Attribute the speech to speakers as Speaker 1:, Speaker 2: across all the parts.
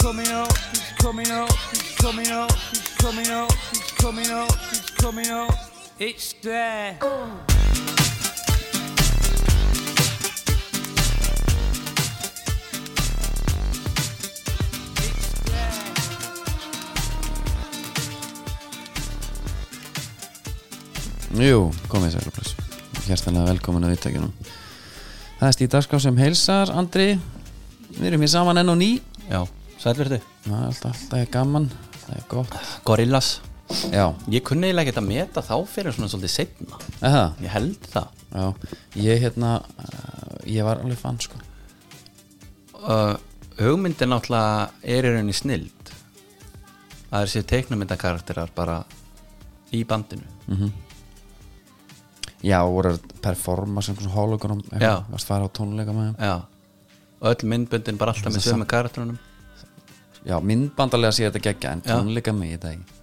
Speaker 1: coming up, it's coming up, it's coming up, it's coming up, it's coming up, it's coming up, it's there. It's there.
Speaker 2: Jú, komið sér bless. Hjertanlega velkomin að viðtækjunum Það er Stíð Dagskrá sem heilsar, Andri Við erum hér saman enn og ný
Speaker 3: Já, sælverði
Speaker 2: Það er alltaf, alltaf er gaman, það er gott
Speaker 3: Gorillas
Speaker 2: Já,
Speaker 3: Ég kunni eiginlega ekkert að meta þá fyrir svona svolítið setna
Speaker 2: eða það?
Speaker 3: Ég held það
Speaker 2: Já, ég hérna, uh, ég var alveg fann sko
Speaker 3: uh, Hugmyndin náttúrulega er í rauninni snild Það er sér teiknumyndakarakterar bara í bandinu
Speaker 2: Mm. Já, voru að performa sem svona hologram
Speaker 3: Já.
Speaker 2: eitthvað, Varst fara á tónleika með þeim
Speaker 3: Já Og öll myndböndin bara alltaf með sömu karakterunum
Speaker 2: Já, myndbandarlega sé þetta geggja en
Speaker 3: Já.
Speaker 2: tónleika með þetta ekki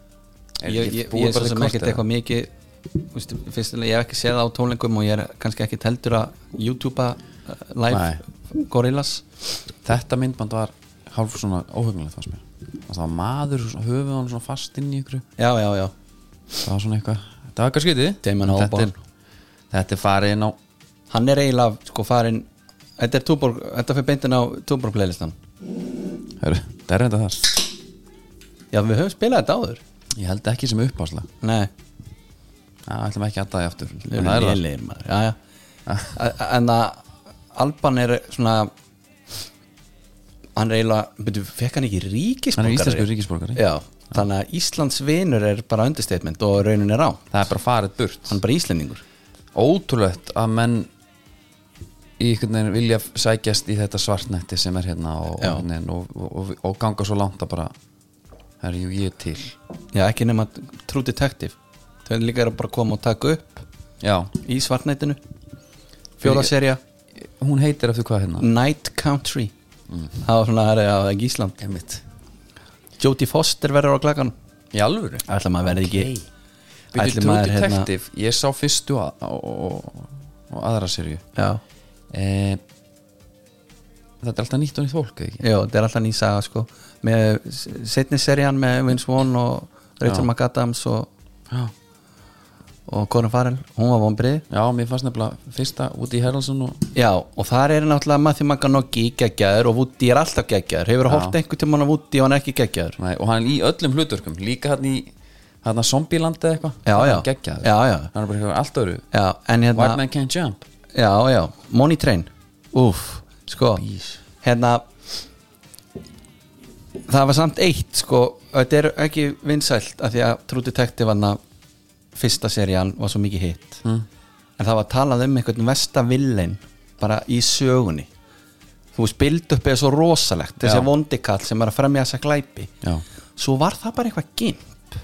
Speaker 2: Er
Speaker 3: Ég,
Speaker 2: ekki
Speaker 3: ég,
Speaker 2: búið
Speaker 3: ég er svo
Speaker 2: bara
Speaker 3: sem
Speaker 2: til
Speaker 3: ekkert
Speaker 2: kort, eða?
Speaker 3: eitthvað mikið þú veist, Fyrst að ég hef ekki séð það á tónleikum og ég er kannski ekkert heldur að YouTube-a uh, live Gorillas
Speaker 2: Þetta myndband var hálf svona óhugnulegt fannst mér Það var maður, höfuð hann svona fast inn í ykkur
Speaker 3: Já, já, já
Speaker 2: það var svona eitthvað þetta var eitthvað skytið
Speaker 3: Damon Albarn.
Speaker 2: þetta er farið inn á
Speaker 3: hann er eiginlega sko farin þetta er túborg, þetta fyrir beintin á túborg playlistan
Speaker 2: Heru, það er reynda þar
Speaker 3: já við höfum spilað þetta áður
Speaker 2: ég held ekki sem uppásla
Speaker 3: nei,
Speaker 2: það ætlum ekki að dæja aftur
Speaker 3: við
Speaker 2: En það er Ah.
Speaker 3: erum
Speaker 2: það.
Speaker 3: lélegir maður já, já. A- en að Alban er svona hann er eiginlega byrju, fekk hann ekki
Speaker 2: hann er
Speaker 3: ríkisborgari
Speaker 2: íslensku ríkisborgari
Speaker 3: já, þannig að Íslands vinur er bara understatement og raunin er á hann
Speaker 2: það er bara farið burt
Speaker 3: er bara Íslendingur
Speaker 2: ótrúlegt að menn í einhvern veginn vilja sækjast í þetta svartnætti sem er hérna og, og,
Speaker 3: Já.
Speaker 2: einhvern veginn og, og, og, og ganga svo langt að bara það er jú ég er til
Speaker 3: já, ekki nema True Detective þau eru líka að bara koma og taka upp
Speaker 2: já,
Speaker 3: í svartnættinu fjóra serja
Speaker 2: hún heitir eftir hvað hérna
Speaker 3: Night Country það var svona það er það er ekki Ísland
Speaker 2: Emmitt
Speaker 3: Jodie Foster verður á klakan
Speaker 2: í alvöru
Speaker 3: ætla maður verði ekki
Speaker 2: Bíddu,
Speaker 3: Ætli
Speaker 2: True
Speaker 3: maður, hérna-
Speaker 2: Detective, ég sá fyrstu að, og, og, og aðra serju
Speaker 3: já,
Speaker 2: eh, Þetta er alltaf nýtt og nýtt fólk, eða ekki?
Speaker 3: já, það er alltaf ný saga sko með setni serían með Vince Vaughn og Rachel
Speaker 2: Já.
Speaker 3: McAdams og,
Speaker 2: Já,
Speaker 3: og Corin Farrell, hún var vonbrið
Speaker 2: já mér fannst nefnilega fyrsta Woody Harrelson og
Speaker 3: já, og þar er náttúrulega Matthew McConaughey geggjaður og Woody er alltaf geggjaður hefur
Speaker 2: Já.
Speaker 3: hórt einhvern tímann á Woody og hann er ekki geggjaður
Speaker 2: Nei, og hann er í öllum hlutverkum, líka hann í hann að Zombieland eða eitthvað
Speaker 3: Já, já.
Speaker 2: hann geggja,
Speaker 3: Já, já.
Speaker 2: hann er bara eitthvað allt öru
Speaker 3: já, en hérna
Speaker 2: White Man Can't Jump
Speaker 3: Já, já, Money Train Úf, sko Hérna Það var samt eitt, sko Þetta er ekki vinsælt af því að True Detective hann að fyrsta serían var svo mikið hitt mm. en það var talað um einhvern versta villin bara í sögunni þú veist, bild upp eða svo rosalegt þessi
Speaker 2: Já.
Speaker 3: vondikall sem er að fremja þessa glæpi
Speaker 2: Já,
Speaker 3: svo var það bara eitthvað gimp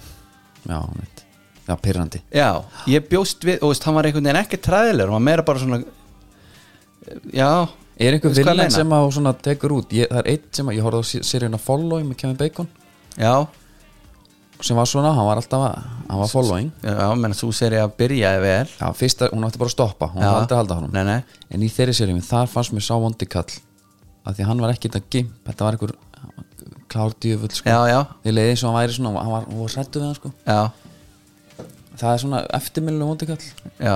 Speaker 2: já, mitt Já, pyrrandi
Speaker 3: Já, ég bjóst við, og veist, hann var einhvern veginn ekki træðilegur, hann var meira bara svona Já
Speaker 2: Er einhver
Speaker 3: Veistu hvað ég
Speaker 2: villan
Speaker 3: meina?
Speaker 2: sem að hún svona tekur út ég, Það er eitt sem að ég horfði á se- seríuna Following með Kevin Bacon
Speaker 3: Já,
Speaker 2: sem var svona, hann var alltaf að, hann var following
Speaker 3: já, menn þú seri að byrjaði vel
Speaker 2: Já, fyrsta, hún átti bara að stoppa, hún
Speaker 3: Já.
Speaker 2: var aldrei að halda honum
Speaker 3: Nei, nei,
Speaker 2: En í þeirri seríum, þar fannst mér sá vondi kall að því að hann var ekki þetta gimp þetta var einhver klárdjöfull sko.
Speaker 3: já, já,
Speaker 2: því leiði eins og hann væri svona hann var, hann var sættu við hann sko.
Speaker 3: já,
Speaker 2: það er svona eftirmilinu vondi kall
Speaker 3: já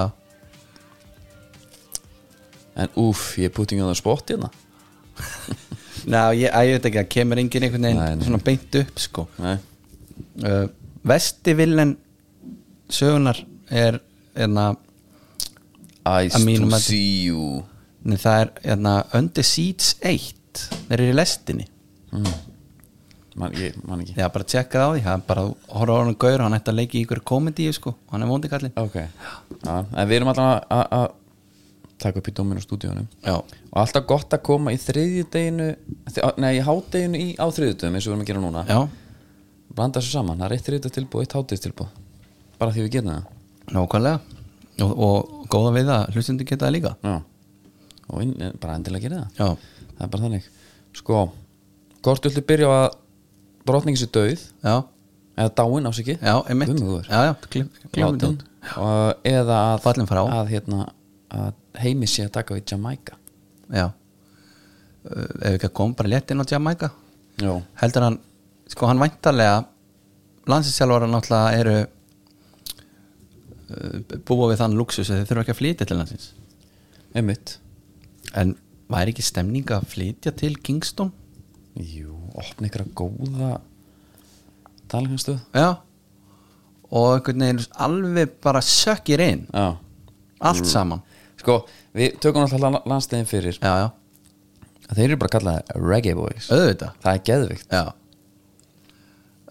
Speaker 2: en úff, ég er putting on the spot hérna
Speaker 3: Ná, ég, að, ég veit ekki, það kemur engin einhvern veginn
Speaker 2: Nei, nei.
Speaker 3: svona beint upp, sko
Speaker 2: Nei.
Speaker 3: uh, Vesti villen sögunar er, hérna
Speaker 2: Ice
Speaker 3: Að mínu
Speaker 2: to
Speaker 3: mati.
Speaker 2: see you
Speaker 3: Nei, það er, hérna, Under Seeds 1 þeir eru í lestinni
Speaker 2: man, ég, man ekki
Speaker 3: Já, bara tjekka það á því, það er bara horfa á hann gaur, hann ætti að leiki í ykkur komedíu, sko hann er vondi kallinn
Speaker 2: ok, ja, en við erum alltaf að að taka upp í dóminu stúdíunum
Speaker 3: Já,
Speaker 2: og alltaf gott að koma í þriðjudeginu þi- nei, í hádeginu í, á þriðjudegum eins og við erum að gera núna
Speaker 3: já,
Speaker 2: blanda þessu saman, það er eitt þriðjudagstilbúð, eitt hádegistilbúð bara því við getum það
Speaker 3: nákvæmlega og, og góða við að hlustundi geta það líka
Speaker 2: Já. og inn, eh, bara endilega gera það
Speaker 3: Já,
Speaker 2: það er bara þannig sko, hvort viltu byrja á að brotningi sér dauð
Speaker 3: já
Speaker 2: eða dáin ásiki
Speaker 3: Já, einmitt
Speaker 2: Guðmur.
Speaker 3: Já, já, klifum þetta út
Speaker 2: og, eh, eða að,
Speaker 3: Fallin frá.
Speaker 2: að, hérna, að heimi sé að taka við Jamaica
Speaker 3: Já uh, Ef við ekki að koma bara létt inn á Jamaica
Speaker 2: já,
Speaker 3: heldur hann sko hann væntarlega landsinsjálfara náttúrulega eru uh, búa við þann luxus að þeir þurfa ekki að flytja til landsins
Speaker 2: einmitt
Speaker 3: en væri ekki stemning að flytja til Kingston?
Speaker 2: Jú, opna ykkur að góða talganstöð
Speaker 3: Já og einhvern veginn alveg bara sökkir inn
Speaker 2: Já,
Speaker 3: allt saman
Speaker 2: sko, við tökum alltaf landstegin fyrir
Speaker 3: já, já,
Speaker 2: Þeir eru bara kallaði Reggae Boys
Speaker 3: auðvitað
Speaker 2: Það er geðvikt
Speaker 3: já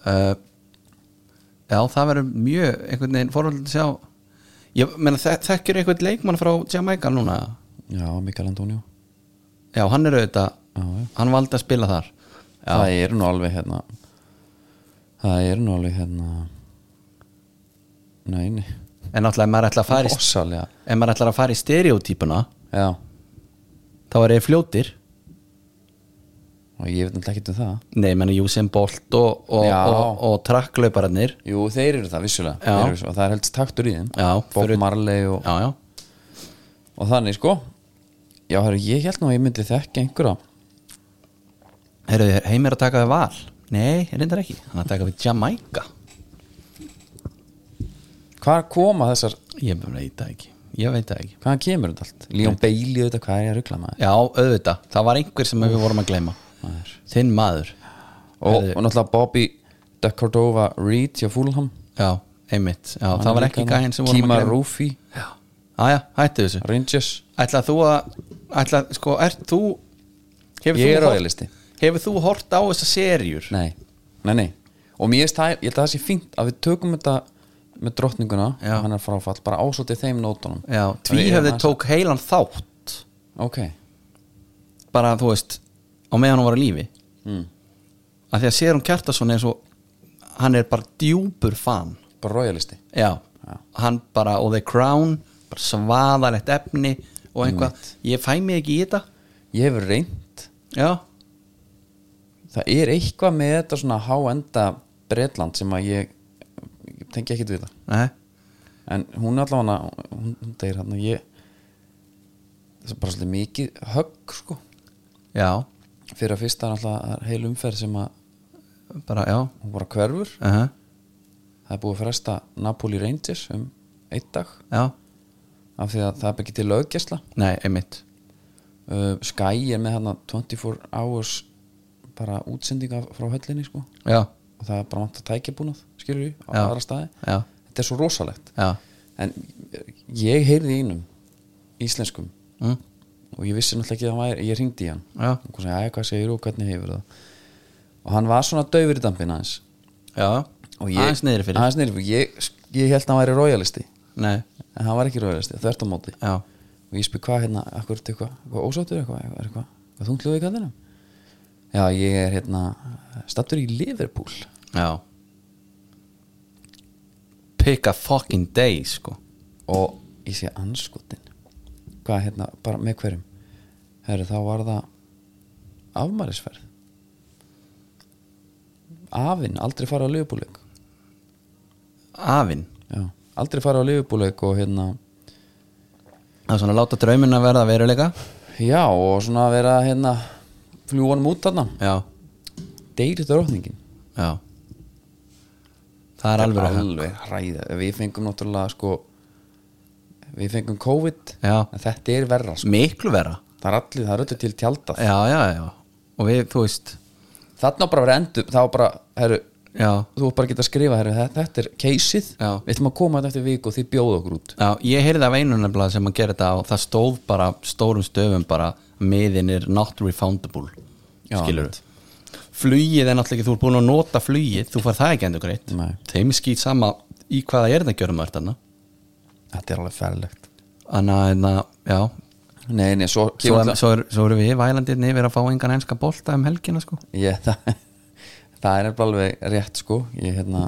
Speaker 3: uh, já, það verður mjög einhvern veginn fórhaldið að sjá ég meina þek þekkir einhvern leikmann frá Jamaica núna
Speaker 2: Já, Mikael Antonio
Speaker 3: já, hann er auðvitað,
Speaker 2: Já, já.
Speaker 3: hann valdi að spila þar
Speaker 2: Það eru nú alveg hérna Það eru nú alveg hérna Nei, nei
Speaker 3: en náttúrulega ef maður ætla að fara í,
Speaker 2: Ósalega
Speaker 3: ef maður ætlar að fara í stereotypuna
Speaker 2: Já,
Speaker 3: þá er þeir fljótir
Speaker 2: og ég veit náttúrulega ekki um það
Speaker 3: nei, menn Usain Bolt og, og,
Speaker 2: Já.
Speaker 3: og, og, og trakklaupararnir
Speaker 2: Jú, þeir eru það vissulega
Speaker 3: Já.
Speaker 2: Þeir eru svo- og Það er helst taktur í þeim
Speaker 3: Já,
Speaker 2: Bob
Speaker 3: fyrir-
Speaker 2: Marley og,
Speaker 3: já, já,
Speaker 2: og þannig sko Já, herru, ég held nú að ég myndi þekki einhverja
Speaker 3: Heyrðu, heimir að taka við val? Nei, reyndar ekki Hann er að taka við Jamaica
Speaker 2: Hvar koma þessar,
Speaker 3: Ég veit það ekki Ég veit það ekki
Speaker 2: hvaðan kemur þetta allt? Leon Bailey þetta, hvað er ég að ruggla maður?
Speaker 3: Já, auðvitað Það var einhver sem við vorum að gleyma
Speaker 2: Maður.
Speaker 3: Þinn maður
Speaker 2: Og, og náttúrulega Bobby De Cordova Reed hjá Fulham
Speaker 3: Já, einmitt Já, það
Speaker 2: Hann
Speaker 3: var
Speaker 2: er
Speaker 3: ekki
Speaker 2: líka
Speaker 3: gæðin sem
Speaker 2: þarna.
Speaker 3: vorum
Speaker 2: Kima
Speaker 3: að gleyma
Speaker 2: Rufi,
Speaker 3: Æja, hættu þessu
Speaker 2: Rangers
Speaker 3: Ætla þú að Ætla, sko, ert þú
Speaker 2: Ég
Speaker 3: hefur þú
Speaker 2: er á
Speaker 3: horft-
Speaker 2: A-listi.
Speaker 3: Hefur þú hort á þessa serjur?
Speaker 2: Nei, nei, nei Og mér veist það, ég held að það sé fínt að við tökum þetta með drottninguna,
Speaker 3: Já.
Speaker 2: hann er fráfall bara ásótið þeim nótunum
Speaker 3: Já,
Speaker 2: Við
Speaker 3: tvíhöfði
Speaker 2: erum
Speaker 3: tók heilan þátt
Speaker 2: að- Ok,
Speaker 3: bara þú veist á meðan hún var á lífi
Speaker 2: Hmm.
Speaker 3: mm. að því að sér hún Kjartason eins og hann er bara djúpur fan
Speaker 2: bara royalisti
Speaker 3: já, hann bara og The Crown bara svaðalegt efni og eitthvað, ég fæ mig ekki í þetta
Speaker 2: Ég hefur reynt
Speaker 3: já,
Speaker 2: Það er eitthvað með þetta svona háenda Bretland sem að ég, ég tengi ekkit við það
Speaker 3: nei,
Speaker 2: en hún er allavega hún, hún deyr hann og ég það er bara svolítið mikið högg sko
Speaker 3: já
Speaker 2: fyrir að fyrsta er alltaf heil umferð sem að
Speaker 3: bara, já
Speaker 2: hún bara hverfur
Speaker 3: uh
Speaker 2: það er búið að fresta Napoli Rangers um einn dag
Speaker 3: já,
Speaker 2: af því að það er ekki til löggesla
Speaker 3: nei, einmitt
Speaker 2: uh, Sky er með hann 24 hours bara útsendinga frá höllinni sko
Speaker 3: já,
Speaker 2: og það er bara vant að tækja búnað skilur við á
Speaker 3: Já.
Speaker 2: aðra staði
Speaker 3: Já.
Speaker 2: þetta er svo rosalegt
Speaker 3: já,
Speaker 2: en ég heyrði í einum íslenskum
Speaker 3: mm.
Speaker 2: og ég vissi náttúrulega ekki að hann væri ég ringdi í hann
Speaker 3: Já.
Speaker 2: og hún sagði, "Æ, hvað segir þú, hvernig hefur það og hann var svona daufur í dampin aðeins
Speaker 3: já
Speaker 2: og ég,
Speaker 3: aðeins niður fyrir
Speaker 2: aðeins niðri fyrir. Ég, ég held að hann væri royalisti
Speaker 3: nei,
Speaker 2: en hann var ekki royalisti, þvert á móti
Speaker 3: já,
Speaker 2: og ég spyr hvað hérna, akkur er þetta eitthvað eitthvað ósáttur eitthvað, er eitthvað, hvað þú hljóði í kallinu já, ég er hérna stattur í Liverpool
Speaker 3: já pick a fucking day, sko
Speaker 2: og ég sé anskotin hvað hérna, bara með hverjum herru, þá var það afmælisferð afinn, aldrei fara á liðbúleik
Speaker 3: afinn
Speaker 2: já, aldrei fara á liðbúleik og hérna
Speaker 3: Það er svona að láta draumin að verða að veruleika
Speaker 2: já, og svona vera hérna fljúanum út þarna
Speaker 3: Já,
Speaker 2: deyri drókningin
Speaker 3: já Það er alveg að
Speaker 2: alveg hræða, við fengum náttúrulega sko við fengum COVID
Speaker 3: Já.
Speaker 2: en þetta er verra sko.
Speaker 3: Miklu vera
Speaker 2: það er allir, það er öllu til tjaldað
Speaker 3: Já, já, já Og við, þú veist
Speaker 2: þarna bara verið endur, þá bara herru,
Speaker 3: Já,
Speaker 2: þú ert bara að geta að skrifa herri, þetta, þetta er caseið,
Speaker 3: Já.
Speaker 2: við ætlum að koma þetta eftir viku og þið bjóðu okkur út
Speaker 3: já ég heyrði af einu nefnilega sem að gera þetta og það stóð bara stórum stöfum bara miðin er not refundable
Speaker 2: Já,
Speaker 3: Skilur Flugið er náttúrulega ekki, þú er búin að nota flugið þú fær það ekki endur greitt
Speaker 2: Nei.
Speaker 3: Þeim skýt sama í hvaða er það gjörum maður þarna
Speaker 2: þetta er alveg ferlegt
Speaker 3: Þannig að, hérna, já
Speaker 2: nei, nei, svo,
Speaker 3: Svo,
Speaker 2: kemur
Speaker 3: er, svo, er, svo eru við vælandirni yfir að fá engan heimska bolta um helgina sko
Speaker 2: það ég, það, það er nefnilega alveg rétt sko ég hérna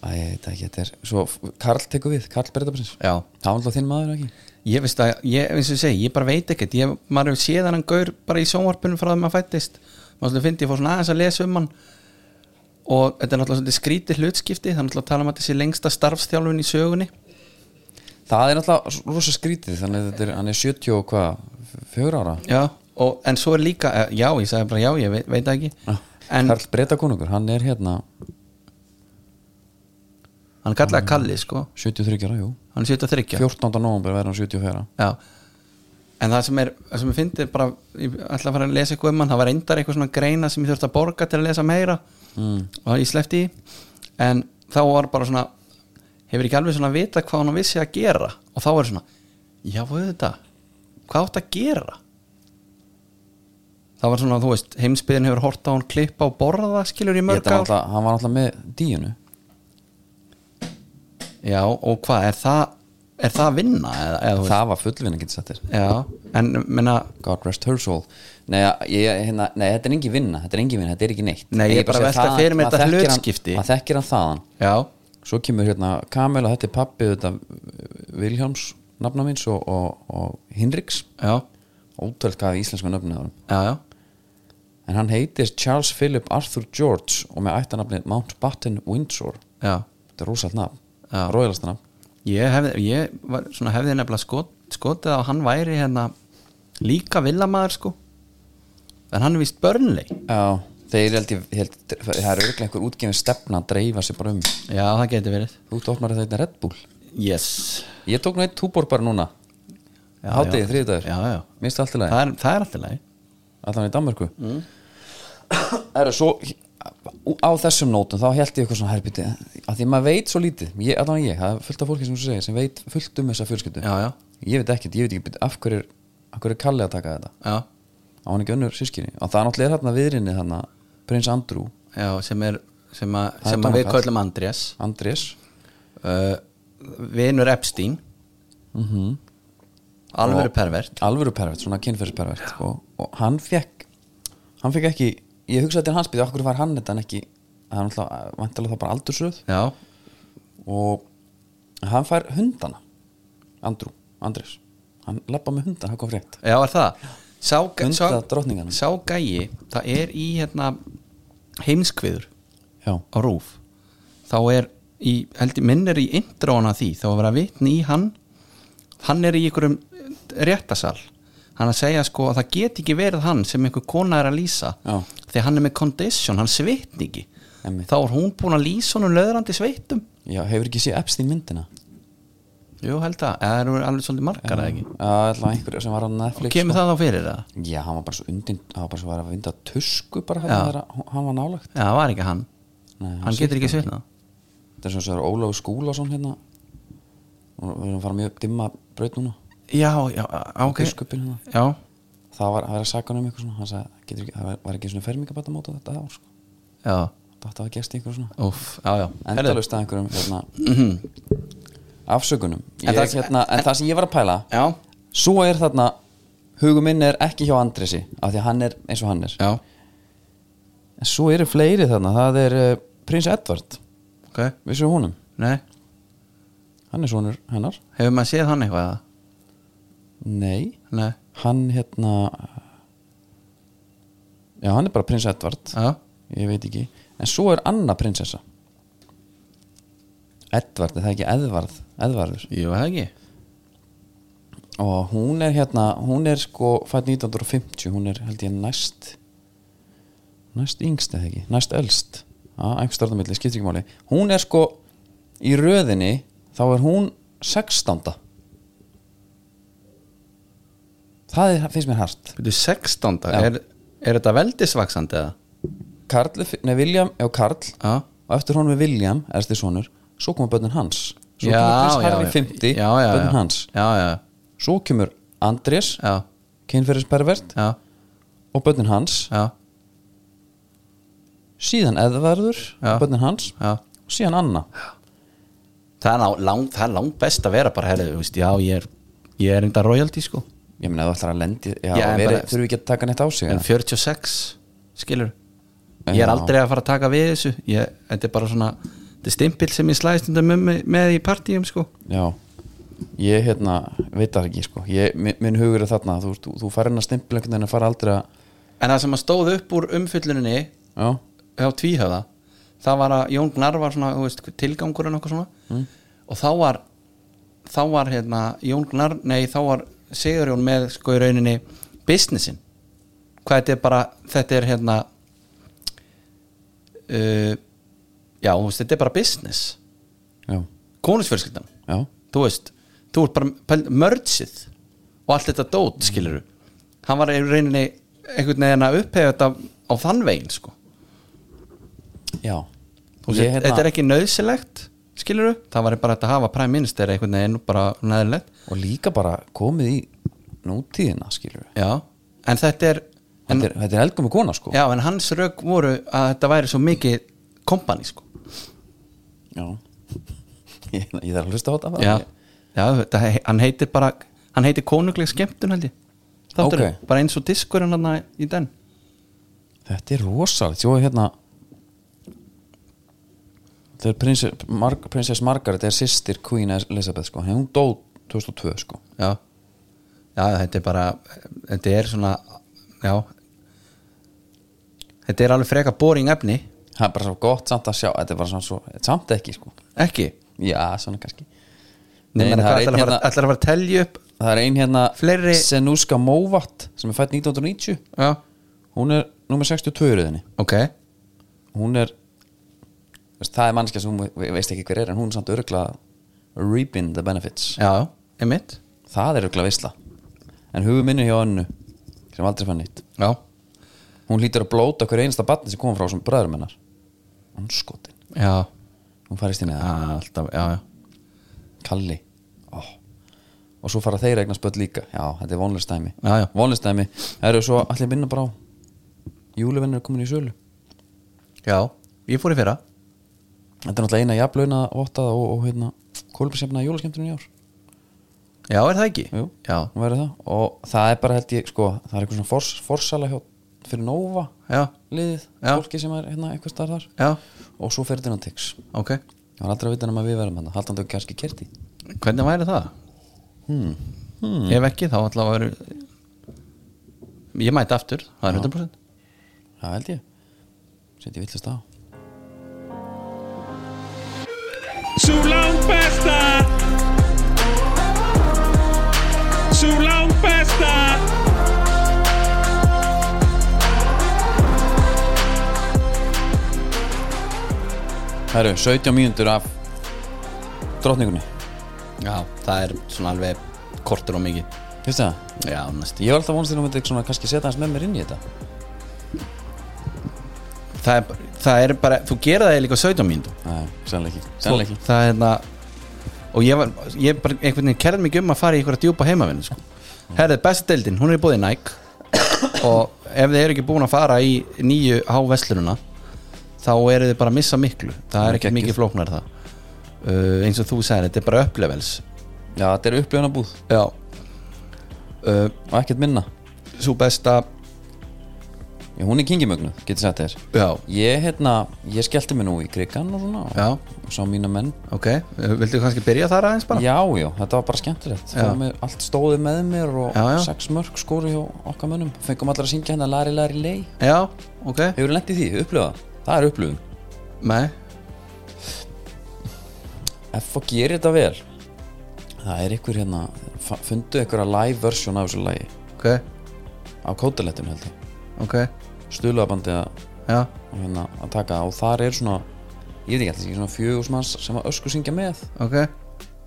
Speaker 2: að ég veit ekki, þetta er svo Karl tekur við, Karl Berðabrins það
Speaker 3: Já,
Speaker 2: var alltaf þinn maður ekki
Speaker 3: Ég veist að, ég, eins og ég segi, ég bara veit ekkert ég, maður hefur séð hann gaur bara í sjónvarpunum frá það maður fættist, maður svolítið fyndi ég fór svona aðeins að lesa um hann og þetta er náttúrulega svolítið skrítið hlutskipti þannig að tala um að þetta sé lengsta starfstjálfun í sögunni
Speaker 2: það er alltaf rosa skrítið þannig að þetta er, hann er 70 og hvað, fjögur ára
Speaker 3: já, og, en svo er líka, eh, já ég sagði bara já ég veit, veit það ekki en
Speaker 2: Karl Bretakonungur, hann er hérna
Speaker 3: hann kallaði Kalli sko
Speaker 2: 73 ára, jú
Speaker 3: hann er 73
Speaker 2: 14. november verður hann 74
Speaker 3: já. en það sem er það sem ég fyndi bara, ég ætla að fara að lesa eitthvað um hann það var reyndar eitthvað svona greina sem ég þurfti að borga til að lesa meira mm. og ég sleppti í en þá var bara svona hefur ekki alveg svona vita hvað hann vissi að gera og þá er svona já auðvitað, hvað átt að gera það var svona þú veist, heimsbyðin hefur hort á hann klippa og borða skilur í mörg
Speaker 2: Þetta var
Speaker 3: ár
Speaker 2: alltaf- Hann var alltaf með díunu
Speaker 3: já og hvað, er það er það að vinna eða, eða, þú veist?
Speaker 2: Það var fullvinna getur sattir
Speaker 3: já, en menna
Speaker 2: God rest her soul Nei, ég, hérna, nei þetta er engin vinna, þetta er engin vinna, þetta er ekki neitt
Speaker 3: Nei,
Speaker 2: En
Speaker 3: ég er bara að
Speaker 2: segi
Speaker 3: velta
Speaker 2: þaðan-
Speaker 3: fyrir mér
Speaker 2: maður
Speaker 3: þetta
Speaker 2: þekkir hann-
Speaker 3: hlutskipti.
Speaker 2: Maður þekkir hann þaðan
Speaker 3: já,
Speaker 2: Svo kemur hérna Kamil og þetta er pappi þetta, uh, Vilhjálms nafna míns og, og, og Hinriks
Speaker 3: já
Speaker 2: Ótöld hvað íslensku nöfnið á hann
Speaker 3: já, já,
Speaker 2: En hann heitir Charles Philip Arthur George og með ættanafnið Mountbatten Windsor
Speaker 3: já.
Speaker 2: Þetta er rúsalt nafn,
Speaker 3: Já.
Speaker 2: róðilast nafn
Speaker 3: Ég, hef, ég var, svona, hefði nefnilega skot, skotið á að hann væri hérna líka villamaður sko en hann er vist börnleg
Speaker 2: Já, þeir held ég, held, það er auðvitað einhver útgefin stefna að dreifa sér bara um
Speaker 3: já það geti verið
Speaker 2: Þú tóknar þetta Red Bull
Speaker 3: yes.
Speaker 2: Ég tók nú eitt túbor bara núna
Speaker 3: já,
Speaker 2: Hátegi,
Speaker 3: já.
Speaker 2: þriðdagur.
Speaker 3: já, já.
Speaker 2: Mér stið allt í lagi
Speaker 3: Það, er, það er alltaf leið
Speaker 2: allan í Danmörku mm. er svo á þessum nótum þá held ég eitthvað svona herbiti að því maður veit svo lítið, ég, allan ég það er fullt af fólki sem þú segir sem veit fullt um þessa fjölskyldu
Speaker 3: já, já,
Speaker 2: ég veit ekkert, ég veit ekki byrju, af hverju er, af hverju er Kalli að taka þetta
Speaker 3: já,
Speaker 2: á hann ekki önnur sískinni og það er náttúrulega er hérna viðrinni þarna prins Andrú,
Speaker 3: já sem er sem, a,
Speaker 2: er
Speaker 3: sem að við
Speaker 2: dómakall.
Speaker 3: köllum Andrés
Speaker 2: Andrés
Speaker 3: uh, Mhm. vinur Epstein alvöru
Speaker 2: Og-
Speaker 3: pervert
Speaker 2: alvöru pervert, svona kynferðispervert og, og hann fekk hann fekk ekki, ég hugsaði til hans byrja okkur var hann þetta en ekki hann alltaf, vantilega þá bara aldursröð
Speaker 3: já,
Speaker 2: og hann fær hundana Andrú, Andrés hann lappa með hundana, hann kom frétt
Speaker 3: já er það sá,
Speaker 2: Hunda
Speaker 3: sá,
Speaker 2: drottningana.
Speaker 3: sá gæi það er í hérna heimskviður
Speaker 2: já,
Speaker 3: á rúf þá er í, held ég minn er í introana því þá er verið að vitni í hann hann er í einhverjum eh, réttasal hann að segja sko að það get ekki verið hann sem einhver kona er að lýsa
Speaker 2: Já.
Speaker 3: þegar hann er með condition, hann svitni ekki
Speaker 2: Einmitt.
Speaker 3: þá er hún búin að lýsa honum löðrandi sveitum
Speaker 2: já hefur ekki séð Epstein myndina
Speaker 3: jú held að, eða það eru alveg svolítið margar eða ekki
Speaker 2: Já, allavega einhverja sem var á Netflix
Speaker 3: kemur það þá fyrir það?
Speaker 2: sko. já, hann var bara svo undin, hann var bara svo var að vinda tusku bara
Speaker 3: Já.
Speaker 2: hann, þegar hann var nálagt
Speaker 3: Já, það var ekki hann,
Speaker 2: Nei,
Speaker 3: hann,
Speaker 2: hann
Speaker 3: getur ekki svitnað
Speaker 2: þetta er svo sem Ólaf Skúlason hérna og við erum að fara mjög dimma braut núna
Speaker 3: já, já, ok sko.
Speaker 2: biskupinn hérna
Speaker 3: já,
Speaker 2: það var, það var að saka hann um eitthvað svona hann sagði, getur ekki, það var- var ekki svona fermingabættamót á þetta ár sko,
Speaker 3: já,
Speaker 2: þetta var gerst í einhverju svona
Speaker 3: uff, já, já Herðu.
Speaker 2: endalust að einhverjum hérna, afsökunum ég,
Speaker 3: En
Speaker 2: en,
Speaker 3: það-
Speaker 2: það, hérna, en, það sem ég var að pæla
Speaker 3: já,
Speaker 2: svo er þarna hugum minn er ekki hjá Andresi af því að hann er eins og hann er
Speaker 3: já,
Speaker 2: en svo eru fleiri þarna, það er uh, prins Edvard,
Speaker 3: ok
Speaker 2: vissu húnum
Speaker 3: Nei,
Speaker 2: hann er sonur hennar
Speaker 3: hefur maður séð hann eitthvað eða?
Speaker 2: nei,
Speaker 3: Nei,
Speaker 2: hann hérna já, hann er bara prins Edvard
Speaker 3: já,
Speaker 2: ég veit ekki, en svo er anna prinsessa Edvard, er það ekki Edvarð Edvarður
Speaker 3: jú, er það ekki
Speaker 2: og hún er hérna hún er sko fætt 1950 hún er held ég næst næst yngst eða ekki, næst elst að einhver starfamilli, skiptir ekki máli hún er sko í röðinni þá er hún 16 það er, finnst mér hart
Speaker 3: Þetta er 16.
Speaker 2: Já.
Speaker 3: Er, er þetta veldisvaksandi eða?
Speaker 2: Karl, er fi- nei William, já Karl
Speaker 3: Já,
Speaker 2: og eftir honum er William, ersti sonur svo koma börnin hans svo
Speaker 3: já,
Speaker 2: kemur Chris Harry
Speaker 3: já.
Speaker 2: 50,
Speaker 3: já, já,
Speaker 2: börnin
Speaker 3: já.
Speaker 2: hans
Speaker 3: Já, já,
Speaker 2: svo kemur Andrés,
Speaker 3: já,
Speaker 2: kynferðispervert
Speaker 3: já,
Speaker 2: og börnin hans
Speaker 3: já,
Speaker 2: síðan Eðvarður
Speaker 3: Já.
Speaker 2: bönnin hans
Speaker 3: já.
Speaker 2: og síðan Anna
Speaker 3: Það er, ná- lang, það er langt best að vera bara, herri, þú veist, já, ég er, ég er enda royalty, sko
Speaker 2: ég meina ef þú ætlar að lendi já,
Speaker 3: Já,
Speaker 2: já,
Speaker 3: en
Speaker 2: veri,
Speaker 3: bara-
Speaker 2: þurfum við ekki að taka neitt á sig
Speaker 3: En
Speaker 2: en,
Speaker 3: 46, skilur Ég
Speaker 2: Já.
Speaker 3: er aldrei að fara að taka við þessu ég, Þetta er bara svona, þetta er stimpil sem ég slæðist undan með, með í partíum, sko
Speaker 2: já, ég hérna veit það ekki sko, ég, minn, minn hugur er þarna þú, þú, þú farin að stimpla einhvern veginn að fara aldrei að
Speaker 3: En það sem að stóð upp úr umfylluninni
Speaker 2: já,
Speaker 3: hjá tvíhöða það var að Jón Gnar var svona þú veist, tilgangur en okkur svona og þá var þá var hérna Jón Gnar, nei þá var Sigurjón með sko í rauninni businessin hvað þetta er bara þetta er hérna uh, já, þú veist, þetta er bara business
Speaker 2: já,
Speaker 3: konusfjölskyldan,
Speaker 2: já,
Speaker 3: þú veist þú ert bara pæl- mergeið og allt þetta
Speaker 2: Mm.
Speaker 3: dót, skilurðu hann var í rauninni einhvern veginn að upphefja þetta á þann veginn, sko
Speaker 2: já
Speaker 3: Þú veist,
Speaker 2: hérna-
Speaker 3: þetta er ekki nöðsilegt skilurðu, það var bara hægt að hafa prime minister einhvern veginn bara neðurlegt
Speaker 2: og líka bara komið í nútíðina skilur við
Speaker 3: já, en þetta er en,
Speaker 2: þetta er, þetta er eldgömi kona sko
Speaker 3: já, en hans rauk voru að þetta væri svo mikið kompani, sko
Speaker 2: Já. Ég, ég þarf að hlusta á þetta bara.
Speaker 3: já, já þetta, hann heitir bara hann heitir konungleg skemmtun held ég Þáttur,
Speaker 2: Ok.
Speaker 3: bara eins og diskurinn hann í den
Speaker 2: þetta er rosalegt Jó, hérna þetta er prinsess, Mar prinsess Margaret er sýstir Queen Elizabeth sko hún dó 2002 sko
Speaker 3: já. já, þetta er bara þetta er svona já þetta er alveg freka boring efni
Speaker 2: það er bara svo gott samt að sjá þetta er bara svona svo, samt ekki sko
Speaker 3: ekki
Speaker 2: já, svona kannski
Speaker 3: Nei,
Speaker 2: Nei,
Speaker 3: Nei,
Speaker 2: það er
Speaker 3: hvað, ætlar,
Speaker 2: einn
Speaker 3: að fara,
Speaker 2: hérna-
Speaker 3: ætlar að fara að telja upp
Speaker 2: það er ein hérna
Speaker 3: Fleiri-
Speaker 2: Senuska Movat sem er fætt 1990
Speaker 3: já,
Speaker 2: hún er nummer 62 í röðinni
Speaker 3: ok
Speaker 2: hún er þú veist, það er mannskja sem hún ve- veist ekki hver er en hún er samt örgla reaping the benefits
Speaker 3: já, einmitt
Speaker 2: það er örgla veisla en hugum minni hjá önnu sem aldrei fann nýtt
Speaker 3: já,
Speaker 2: hún hlýtur að blóta hver einasta batni sem kom frá sem bræðurum hennar hún skotin
Speaker 3: já,
Speaker 2: hún farist inn í
Speaker 3: já
Speaker 2: það
Speaker 3: alltaf, já, já
Speaker 2: Kalli oh. og svo fara þeir eigna spöld líka já, þetta er vonlistæmi
Speaker 3: Já, já.
Speaker 2: vonlistæmi eru svo allir minna bara á júluvinnur er komin í sölu
Speaker 3: já, ég fór í fyrra
Speaker 2: þetta er náttúrulega eina jafnlauna vottaða og, og hérna kólbærsjafna júluskemmtunum í ár
Speaker 3: já, er það ekki?
Speaker 2: Jú,
Speaker 3: já,
Speaker 2: hún verður það og það er bara held ég, sko, það er eitthvað svona fors, forsala hjá, fyrir Nova
Speaker 3: já,
Speaker 2: liðið,
Speaker 3: Já.
Speaker 2: fólki sem er hérna eitthvað starðar
Speaker 3: já,
Speaker 2: og svo fyrir þennan tix
Speaker 3: ok
Speaker 2: það var aldrei að vita nema að við verðum hann haldandi og kannski kerti
Speaker 3: hvernig væri það? Hmm. ef ekki þá allavega veru ég mæti aftur, það er 100%
Speaker 2: það held ég, setjum villast á
Speaker 1: Sú langt besta Sú langt besta
Speaker 2: það eru 17 mínútur af drottningunni,
Speaker 3: já, það er svona alveg kortur og mikið
Speaker 2: hérstu það
Speaker 3: já, næstu
Speaker 2: ég var alltaf vonst þér að hún myndi svona kannski setja hans með mér inn í þetta
Speaker 3: það er, bara- það er bara, þú gera það líka á 17 mínútum
Speaker 2: nei, sannlega ekki, sannlega ekki
Speaker 3: það er það og ég var, ég bara einhvern veginn kerði mig um að fara í einhverja djúpa heimavinn sko. herðið, bestu deildin, hún er í búið Nike og ef þið eru ekki búin að fara í nýju háveslununa þá eru þið bara að missa miklu það er ekki
Speaker 2: Gekkið.
Speaker 3: mikið flóknar það uh, eins og þú sagðir, þetta er bara upplevels
Speaker 2: já, þetta er upplifnabúð
Speaker 3: já uh,
Speaker 2: og ekkert minna
Speaker 3: svo besta
Speaker 2: já, hún er kingimögnu, getur sagt þér
Speaker 3: já,
Speaker 2: ég, hérna, ég skellti mig nú í krigan og svona og-
Speaker 3: já,
Speaker 2: og sá mína menn
Speaker 3: ok Uh, viltu kannski byrja þar aðeins bara?
Speaker 2: Já, já, þetta var bara skemmtilegt
Speaker 3: Já.
Speaker 2: Fór mér, Allt stóði með mér og
Speaker 3: Já, já.
Speaker 2: sex mörg skóru hjá okkar mönnum Fengum allar að syngja hennar Lari Lari Lei
Speaker 3: já, ok,
Speaker 2: Hefur lent í því, upplifað Það er upplifun
Speaker 3: nei
Speaker 2: F og gerir þetta vel Það er ykkur hérna fa- Fundu ykkur að live version af þessu lagi
Speaker 3: ok,
Speaker 2: Á kótalettun held ég
Speaker 3: ok,
Speaker 2: Stuðlabandi að,
Speaker 3: já,
Speaker 2: hérna, að taka það. Og þar er svona Ég veit ekki alltaf ekki svona fjögusmanns sem að ösku syngja með
Speaker 3: ok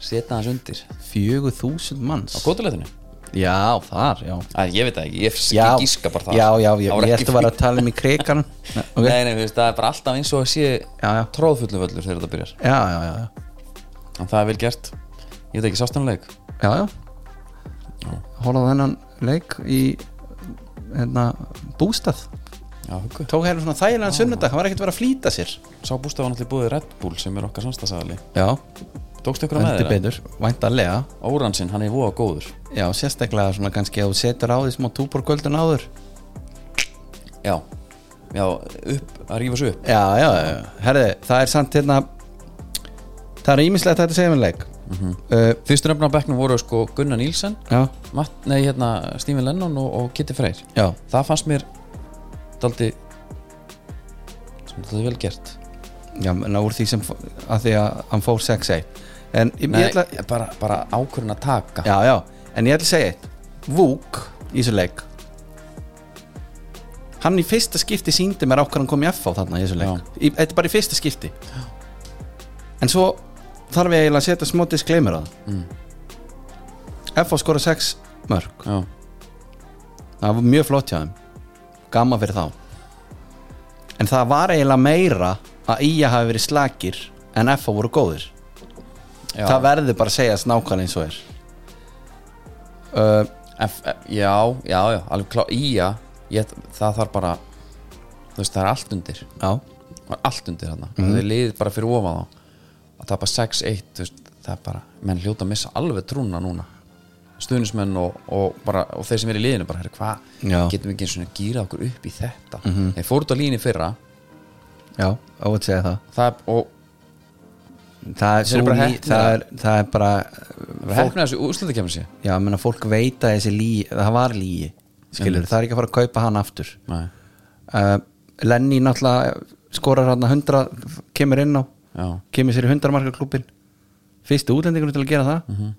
Speaker 2: Seta hans undir Á
Speaker 3: fjögur þúsund manns
Speaker 2: kótalettunum
Speaker 3: Já, þar, já
Speaker 2: Æ, ég veit það ekki, ég
Speaker 3: Já,
Speaker 2: ég gíska bara það
Speaker 3: já, já, já,
Speaker 2: Það var
Speaker 3: ég
Speaker 2: ekki
Speaker 3: ætti að vera að tala um í krikan Nei, ok.
Speaker 2: Nei, nei, þú veist, það er bara alltaf eins og að sé
Speaker 3: Já, já.
Speaker 2: tróðfullu völlur þegar þetta byrjar
Speaker 3: Já, já, já, já,
Speaker 2: En það er vel gert Ég veit ekki sástanleik
Speaker 3: já, já. Hólaðu þennan leik í hérna, bústað
Speaker 2: Já, huggu
Speaker 3: Tók hérna svona þægilegan sunnudag, hann var ekkert að vera að flýta sér
Speaker 2: Sá bústaf var náttúrulega búið Red Bull sem er okkar samstagsæðali
Speaker 3: Já,
Speaker 2: Tókstu ykkur að með
Speaker 3: heldur
Speaker 2: þeirra?
Speaker 3: betur, væntanlega
Speaker 2: Óransinn, hann er voða góður
Speaker 3: Já, sérstaklega svona kannski að þú setur á því smá túborgöldun áður
Speaker 2: Já, já, upp, að rífa svo upp
Speaker 3: Já, já, já, herði, það er samt hérna Það er ímislegt þetta segja með leik
Speaker 2: Mhm.
Speaker 3: uh,
Speaker 2: Fyrstu nöfnum á bekknum voru sko Gunnar Nílsen
Speaker 3: Já,
Speaker 2: Matt, nei, hérna, Stephen Lennon og, og Kitty Freyr
Speaker 3: já,
Speaker 2: Það fannst mér daldi sem daldi vel gert
Speaker 3: Já, menna úr því sem fó- að því að hann fór 6-1 En ég,
Speaker 2: Nei,
Speaker 3: ég ætla
Speaker 2: bara, bara ákvörðin að taka
Speaker 3: Já, já, en ég ætla að segja eitt Vúk í þessu leik hann í fyrsta skipti síndi mér á hvað hann kom í F á þarna í þessu leik Í- þetta er bara í fyrsta skipti en svo þarf ég eiginlega að setja smá disclaimer á það
Speaker 2: Mm.
Speaker 3: F á skora 6 mörg
Speaker 2: já,
Speaker 3: það var mjög flott hjá þeim gama fyrir þá en það var eiginlega meira að Ía hafi verið slakir en F á voru góðir
Speaker 2: já.
Speaker 3: það verður bara að segja snákvæl eins og er uh,
Speaker 2: F, F, já, já, já, alveg klá Ía, ég, það þarf bara þú veist, það er allt undir
Speaker 3: já
Speaker 2: það er allt undir þarna,
Speaker 3: Mhm.
Speaker 2: mm. það er liðið bara fyrir ofan þá að tapa 6-1 þú veist, það er bara, menn hljóta að missa alveg trúna núna stuðnismenn og, og, bara, og þeir sem er í liðinu bara, herri,
Speaker 3: Já. Mhm.
Speaker 2: hvað getum við ekki eins og gýra okkur upp í þetta þeir fóru út á líni fyrra
Speaker 3: Já, á að segja það
Speaker 2: það er, og
Speaker 3: Það er,
Speaker 2: Þeir eru bara
Speaker 3: bara
Speaker 2: heppnir.
Speaker 3: það er, það er bara fólk,
Speaker 2: hefna þessu úrslutu kemur sér
Speaker 3: Já, menna, fólk veit að þessi lí það var líi, skilur, það er ekki að fara að kaupa hann aftur
Speaker 2: Nei,
Speaker 3: uh, Lenny náttúrulega skorar hann 100, kemur inn á
Speaker 2: já,
Speaker 3: kemur sér í 100 marka klubin fyrstu útlendingur til að gera það
Speaker 2: Mhm.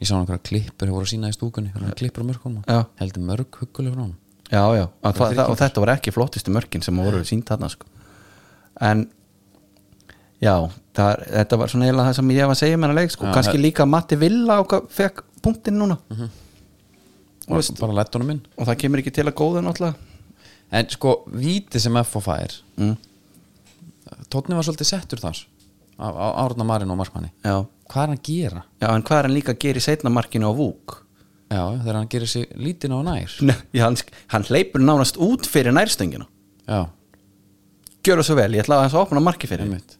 Speaker 2: ég sá hann einhverja klippur, hefur voru að sína í stúkunni einhverjar klippur á mörkunum,
Speaker 3: Já.
Speaker 2: heldur mörg hugguleg frá hann
Speaker 3: Já, já, og, það,
Speaker 2: þrír
Speaker 3: það, og þetta voru ekki flottistu mörkin sem voru sínt þarna sko. en já, það, þetta var svona eiginlega það sem ég var að segja með hana leik sko.
Speaker 2: Já,
Speaker 3: kannski
Speaker 2: það-
Speaker 3: líka Matti Villa og hvað fekk punktin núna og, veist,
Speaker 2: bara lett honum inn
Speaker 3: og það kemur ekki til að góða náttúrulega
Speaker 2: En sko, víti sem FO fær
Speaker 3: mm.
Speaker 2: Tóttni var svolítið settur þar á, á Árna Marino og Markmanni
Speaker 3: já.
Speaker 2: Hvað er hann að gera?
Speaker 3: já, en hvað er hann líka að gera í seinna markinu á Vúk
Speaker 2: Já, þegar hann gerir sig lítinn á nær
Speaker 3: Nei, hann, hann hleypur nánast út fyrir nærstöngina
Speaker 2: Já,
Speaker 3: gjör það svo vel, ég ætla að hans opna marki fyrir þig.
Speaker 2: einmitt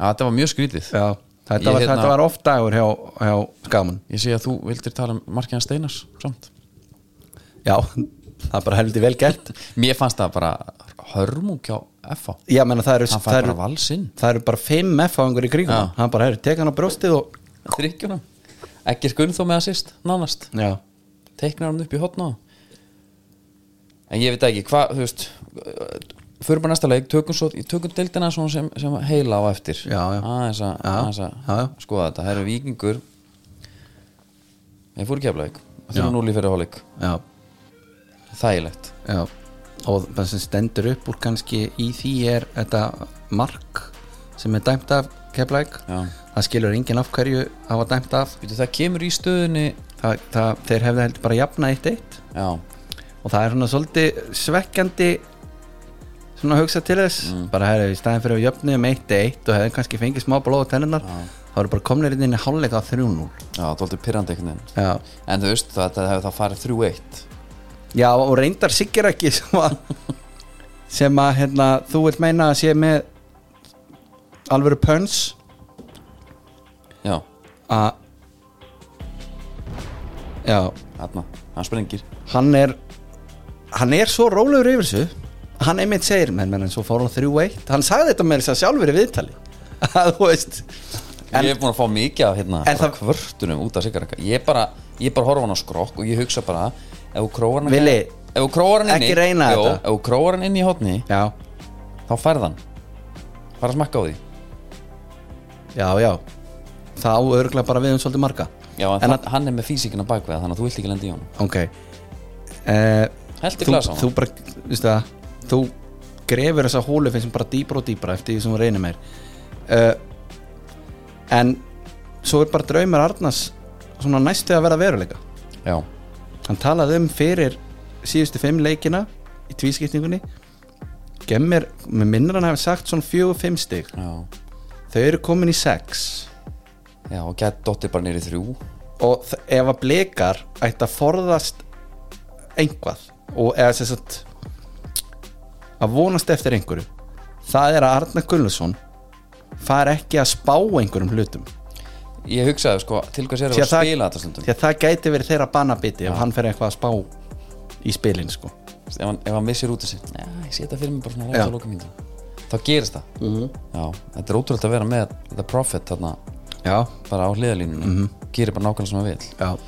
Speaker 2: Já, þetta var mjög skrítið
Speaker 3: já, þetta,
Speaker 2: Ég,
Speaker 3: var,
Speaker 2: hérna-
Speaker 3: þetta var oft dagur hjá, hjá skaman
Speaker 2: Ég sé að þú vildir tala um Markiðan Steinars samt
Speaker 3: já, það er bara heldur vel gert
Speaker 2: Mér fannst það bara hörmúk hjá FO
Speaker 3: Já, menna, það eru,
Speaker 2: Hann
Speaker 3: það
Speaker 2: fær
Speaker 3: eru,
Speaker 2: bara valsinn
Speaker 3: það eru bara fimm F-áðingur í kringum
Speaker 2: Já.
Speaker 3: hann. hann bara hefur tekið hann á brjóstið og
Speaker 2: Þrykkjunum Ekki skunn þó með að sýst, nánast
Speaker 3: já,
Speaker 2: Teiknar hann upp í hotna En ég veit ekki, hvað, þú veist Fyrir bara næsta leik, tökum, svo, tökum deildina svona sem, sem heila á eftir
Speaker 3: Já, já.
Speaker 2: Aðeins að-
Speaker 3: Já,
Speaker 2: aðeins
Speaker 3: já,
Speaker 2: að
Speaker 3: já.
Speaker 2: skoða þetta Það eru vikingur Ég fór í keflavík Þrjú
Speaker 3: Já.
Speaker 2: núli fyrir hálík
Speaker 3: já,
Speaker 2: Þægilegt
Speaker 3: já og það sem stendur upp úr kannski í því er þetta mark sem er dæmt af keflæk
Speaker 2: Já.
Speaker 3: það skilur enginn af hverju það var dæmt af
Speaker 2: Býtu, Það kemur í stöðunni
Speaker 3: það, það, þeir hefði heldur bara jafna eitt eitt
Speaker 2: Já,
Speaker 3: og það er svona svolítið svekkjandi svona að hugsa til þess
Speaker 2: Mm.
Speaker 3: bara hefur í staðin fyrir að jöfnið um eitt eitt og hefði kannski fengið smá blóð á tennunar þá eru bara komnir inn í hálfleika á 3-0
Speaker 2: já það var aldrei pirrandi einhvern veginn
Speaker 3: já
Speaker 2: En þú veist, þetta hefur það farið 3-1
Speaker 3: Já og reyndar siggir ekki sem að, sem að hérna, þú vilt meina að sé með alvöru pöns
Speaker 2: Já,
Speaker 3: að já,
Speaker 2: þarna, hann sprengir
Speaker 3: hann er hann er svo rólegur yfir þessu hann einmitt segir, menn menn en svo fór hann þrjú eitt hann sagði þetta með þess að sjálfur í viðtali að þú veist en,
Speaker 2: ég er búin að fá mikið af hérna bara
Speaker 3: En það-
Speaker 2: kvörtunum út af sigarakka ég bara, ég bara horfa á hann á skrokk og ég hugsa bara ef þú króar hann
Speaker 3: Vili,
Speaker 2: ef þú króar hann inn í
Speaker 3: ekki reyna
Speaker 2: Jó,
Speaker 3: þetta.
Speaker 2: ef þú króar hann inn í hotni
Speaker 3: já,
Speaker 2: þá færð hann bara að smakka á því
Speaker 3: já, já þá örgulega bara við um svolítið marga
Speaker 2: já, en,
Speaker 3: En
Speaker 2: hann, hann er með físikina bakveða þannig að þú vilt ekki lenda í honum
Speaker 3: ok eh,
Speaker 2: heldur
Speaker 3: þú,
Speaker 2: glasa á
Speaker 3: þú
Speaker 2: hann
Speaker 3: bara, veistu það þú grefur þessa hólu finnst bara dýbra og dýbra eftir því sem þú reynir meir uh, en svo er bara draumur Arnars svona næstu að vera veruleika
Speaker 2: já,
Speaker 3: hann talaði um fyrir síðustu fimm leikina í tvískiptingunni gemmir, með minnur hann hafi sagt svona fjögur fimm stig
Speaker 2: já,
Speaker 3: þau eru komin í sex
Speaker 2: já, og gætt dottir bara niður í þrjú
Speaker 3: og þ- ef að blekar ætti að forðast einhvað og eða sem sagt að vonast eftir einhverju það er að Arna Gullesson far ekki að spá einhverjum hlutum
Speaker 2: ég hugsaði sko, til hvað sér
Speaker 3: Því
Speaker 2: að
Speaker 3: að það-
Speaker 2: spila þetta stundum
Speaker 3: því að það gæti verið þeirra banabiti ef hann fer eitthvað að spá í spilin sko.
Speaker 2: ef hann, ef hann missir út þessi já, ég sé þetta fyrir mig bara svona
Speaker 3: Já. Mhm.
Speaker 2: láta að loka mínu þá gerist það já, þetta er ótrúlega að vera með The Prophet þarna
Speaker 3: já,
Speaker 2: bara á hliðalínunni
Speaker 3: Mhm.
Speaker 2: gerir bara nákvæmlega sem hann vil
Speaker 3: já,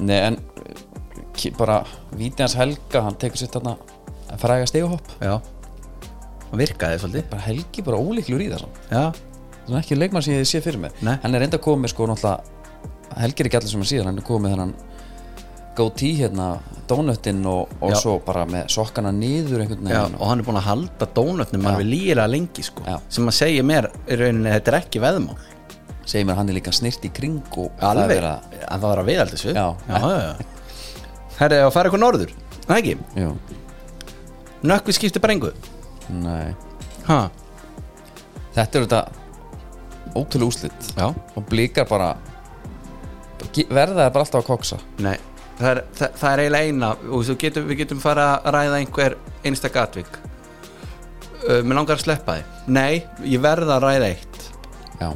Speaker 2: Nei, en eh, ki- bara vítið hans Helga, hann tekur sitt þarna að fræga steguhopp
Speaker 3: já það virkaði svolítið
Speaker 2: bara Helgi bara ólíklur í það samt
Speaker 3: já,
Speaker 2: það er ekki leikmann sem ég sé fyrir mig
Speaker 3: Nei.
Speaker 2: hann er enda komið sko náttúrulega Helgi er ekki allir sem hann síðan, hann er komið þennan goatee hérna donutinn og, og
Speaker 3: Já.
Speaker 2: svo bara með sokkana niður einhvern
Speaker 3: Já,
Speaker 2: veginn
Speaker 3: og hann er búin að halda dónutnum alveg lígilega lengi sko
Speaker 2: Já.
Speaker 3: sem að segja mér í rauninni þetta er ekki veðmál
Speaker 2: segir mér að hann er líka snirt í kring og það
Speaker 3: alveg,
Speaker 2: er að-
Speaker 3: að það var að viðaldis við
Speaker 2: Já.
Speaker 3: já, já. herri, að fara eitthvað norður það ekki,
Speaker 2: Jú,
Speaker 3: nökkvi skipti brengu
Speaker 2: nei
Speaker 3: ha,
Speaker 2: Þetta eru þetta ótrúlega úslit
Speaker 3: já,
Speaker 2: og blikar bara ge- verða það bara alltaf að koksa
Speaker 3: nei það er, það, það er eiginlega eina og þú getum, við getum fara að ræða einhver einstak atvik uh, mér langar að sleppa þið nei, ég verða að ræða eitt
Speaker 2: Já,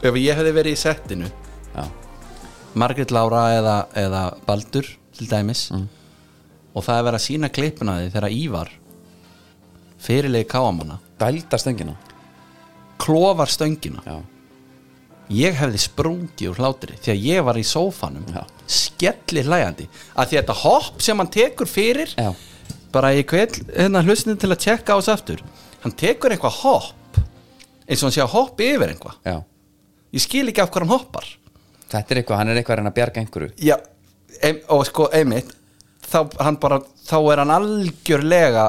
Speaker 3: ef ég hefði verið í settinu
Speaker 2: já,
Speaker 3: Margrét Lára eða, eða Baldur til dæmis og það er verið að sína klippuna því þegar Ívar fyrirlegi káamanna
Speaker 2: dælda stöngina
Speaker 3: klofar stöngina
Speaker 2: Já,
Speaker 3: ég hefði sprungið úr hlátri því að ég var í sófanum
Speaker 2: Já.
Speaker 3: skellir hlæjandi að því þetta hopp sem hann tekur fyrir
Speaker 2: já,
Speaker 3: bara ég kveð hérna hlustinu til að tjekka á þessu aftur hann tekur einhvað hopp eins og hann sé að hoppa yfir einhvað
Speaker 2: já
Speaker 3: ég skil ekki af hvað hann hoppar
Speaker 2: Þetta er eitthvað, hann er eitthvað að reyna að bjarga einhverju
Speaker 3: Já, ein, og sko einmitt þá, hann bara, þá er hann algjörlega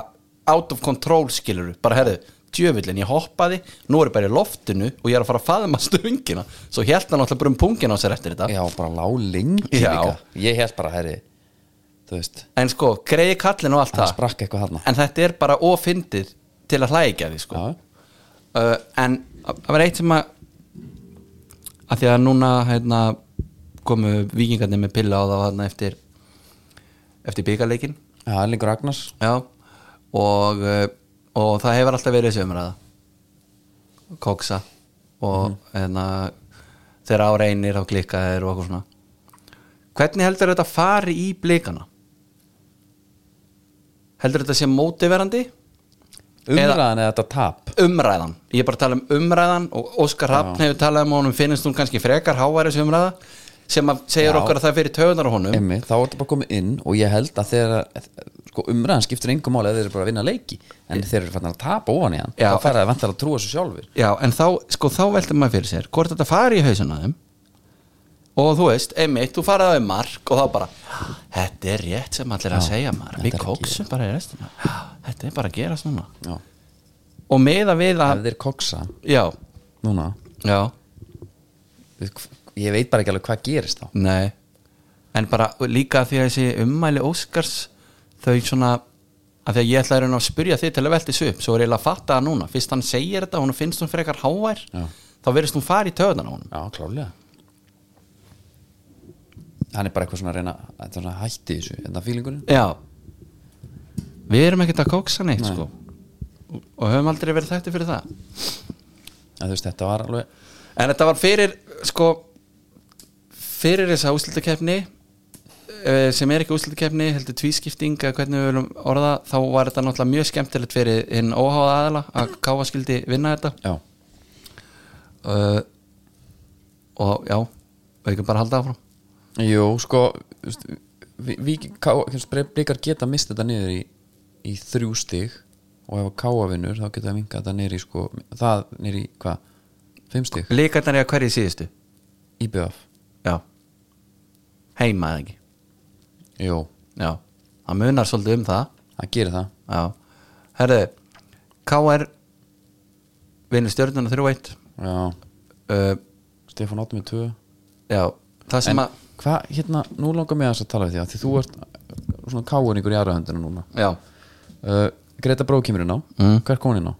Speaker 3: out of control skilur bara herðu, djöfullin, ég hoppaði nú er ég bara í loftinu og ég er að fara að faðma stöngina, svo held hann alltaf bara um pungin á sér eftir þetta
Speaker 2: Já, bara lá lengi
Speaker 3: Já.
Speaker 2: líka Ég held bara, herri, þú veist
Speaker 3: en sko, greiði kallin og allt
Speaker 2: Það
Speaker 3: það
Speaker 2: sprakk eitthvað hann
Speaker 3: en þetta er bara ofindið til að hlægja því sko
Speaker 2: Já,
Speaker 3: uh, en það var eitt sem að að því að núna hérna, komu vikingarnir með pilla á það hérna, eftir eftir byggarleikin
Speaker 2: það er lengur Agnars
Speaker 3: Já og, uh, og það hefur alltaf verið þessi umræða Koksa og hérna þegar á reynir þá klikka þeir og okkur svona Hvernig heldur þetta fari í blikana? Heldur þetta sé mótiverandi?
Speaker 2: Umræðan eða þetta tap
Speaker 3: Umræðan, ég er bara að tala um umræðan og Óskar Hafn hefur talað um honum finnist hún kannski frekar háværi þessi umræða sem að segir
Speaker 2: Já.
Speaker 3: okkar að það fyrir töðunar á honum
Speaker 2: Emmi, þá er þetta bara komið inn og ég held að þegar sko, umræðan skiptir engum máli eða þeir eru bara að vinna leiki en þeir eru fannig að tapa ofan í hann
Speaker 3: Já.
Speaker 2: þá færa þeir vantar að trúa þessu sjálfur
Speaker 3: Já, en þá, sko, þá veltum maður fyrir sér hvort þetta fari í hausuna þeim og þú veist, einmitt, þú farið á þeim mark og þá bara, þetta er rétt sem allir að segja maður,
Speaker 2: þetta
Speaker 3: við
Speaker 2: er að
Speaker 3: kóksum bara í restina Já, þetta er bara að gera svona
Speaker 2: Já.
Speaker 3: og meða við
Speaker 2: ef
Speaker 3: að,
Speaker 2: þeir koksa
Speaker 3: já,
Speaker 2: núna
Speaker 3: já
Speaker 2: við- ég veit bara ekki alveg hvað gerist þá
Speaker 3: nei, en bara líka því að þessi ummæli Óskars þau svona, að því að ég ætla að reyna að spyrja þig til að velta þessu upp, svo er ég að fatta það núna, fyrst hann segir þetta, hún finnst hún frekar hávær,
Speaker 2: Já.
Speaker 3: þá verðist hún fara í töðan á honum
Speaker 2: Já, klálega Hann er bara eitthvað svona að reyna að svona hætti þessu, hérna þetta fílingurinn
Speaker 3: Já Við erum ekkert að kóksa neitt sko og, og höfum aldrei verið þætti fyrir það
Speaker 2: að þú veist, þetta var alveg
Speaker 3: En þetta var fyrir sko fyrir þessa úslutakefni sem er ekki úslutakefni heldur tvískipting að hvernig við viljum orða þá var þetta náttúrulega mjög skemmtilegt fyrir hinn óháða aðila að káfa skildi vinna þetta
Speaker 2: Já,
Speaker 3: uh, og já við ekki bara halda áfram
Speaker 2: jú, sko þú veist, við, við, ká, blikar geta mist þetta niður í, í þrjú stig og ef að káa vinnur þá geta að vinka þetta niður í sko það niður í hvað, fimm stig
Speaker 3: Líkarnar er að hverju síðustu
Speaker 2: IBF,
Speaker 3: Já Heima eða ekki
Speaker 2: jú,
Speaker 3: Já Það munar svolítið um það
Speaker 2: það gerir það
Speaker 3: Já, herðu KR vinnur stjörnuna 3-1
Speaker 2: Já,
Speaker 3: uh,
Speaker 2: Stefán Óttum með tvö
Speaker 3: Já, það sem
Speaker 2: En
Speaker 3: að
Speaker 2: hvað, hérna, nú langar mig aðeins að tala við því að því þú ert uh, svona káuningur í aðra höndina núna
Speaker 3: Já,
Speaker 2: uh, Greta Bró kemur inn á,
Speaker 3: Mm.
Speaker 2: hver kom hún inn á?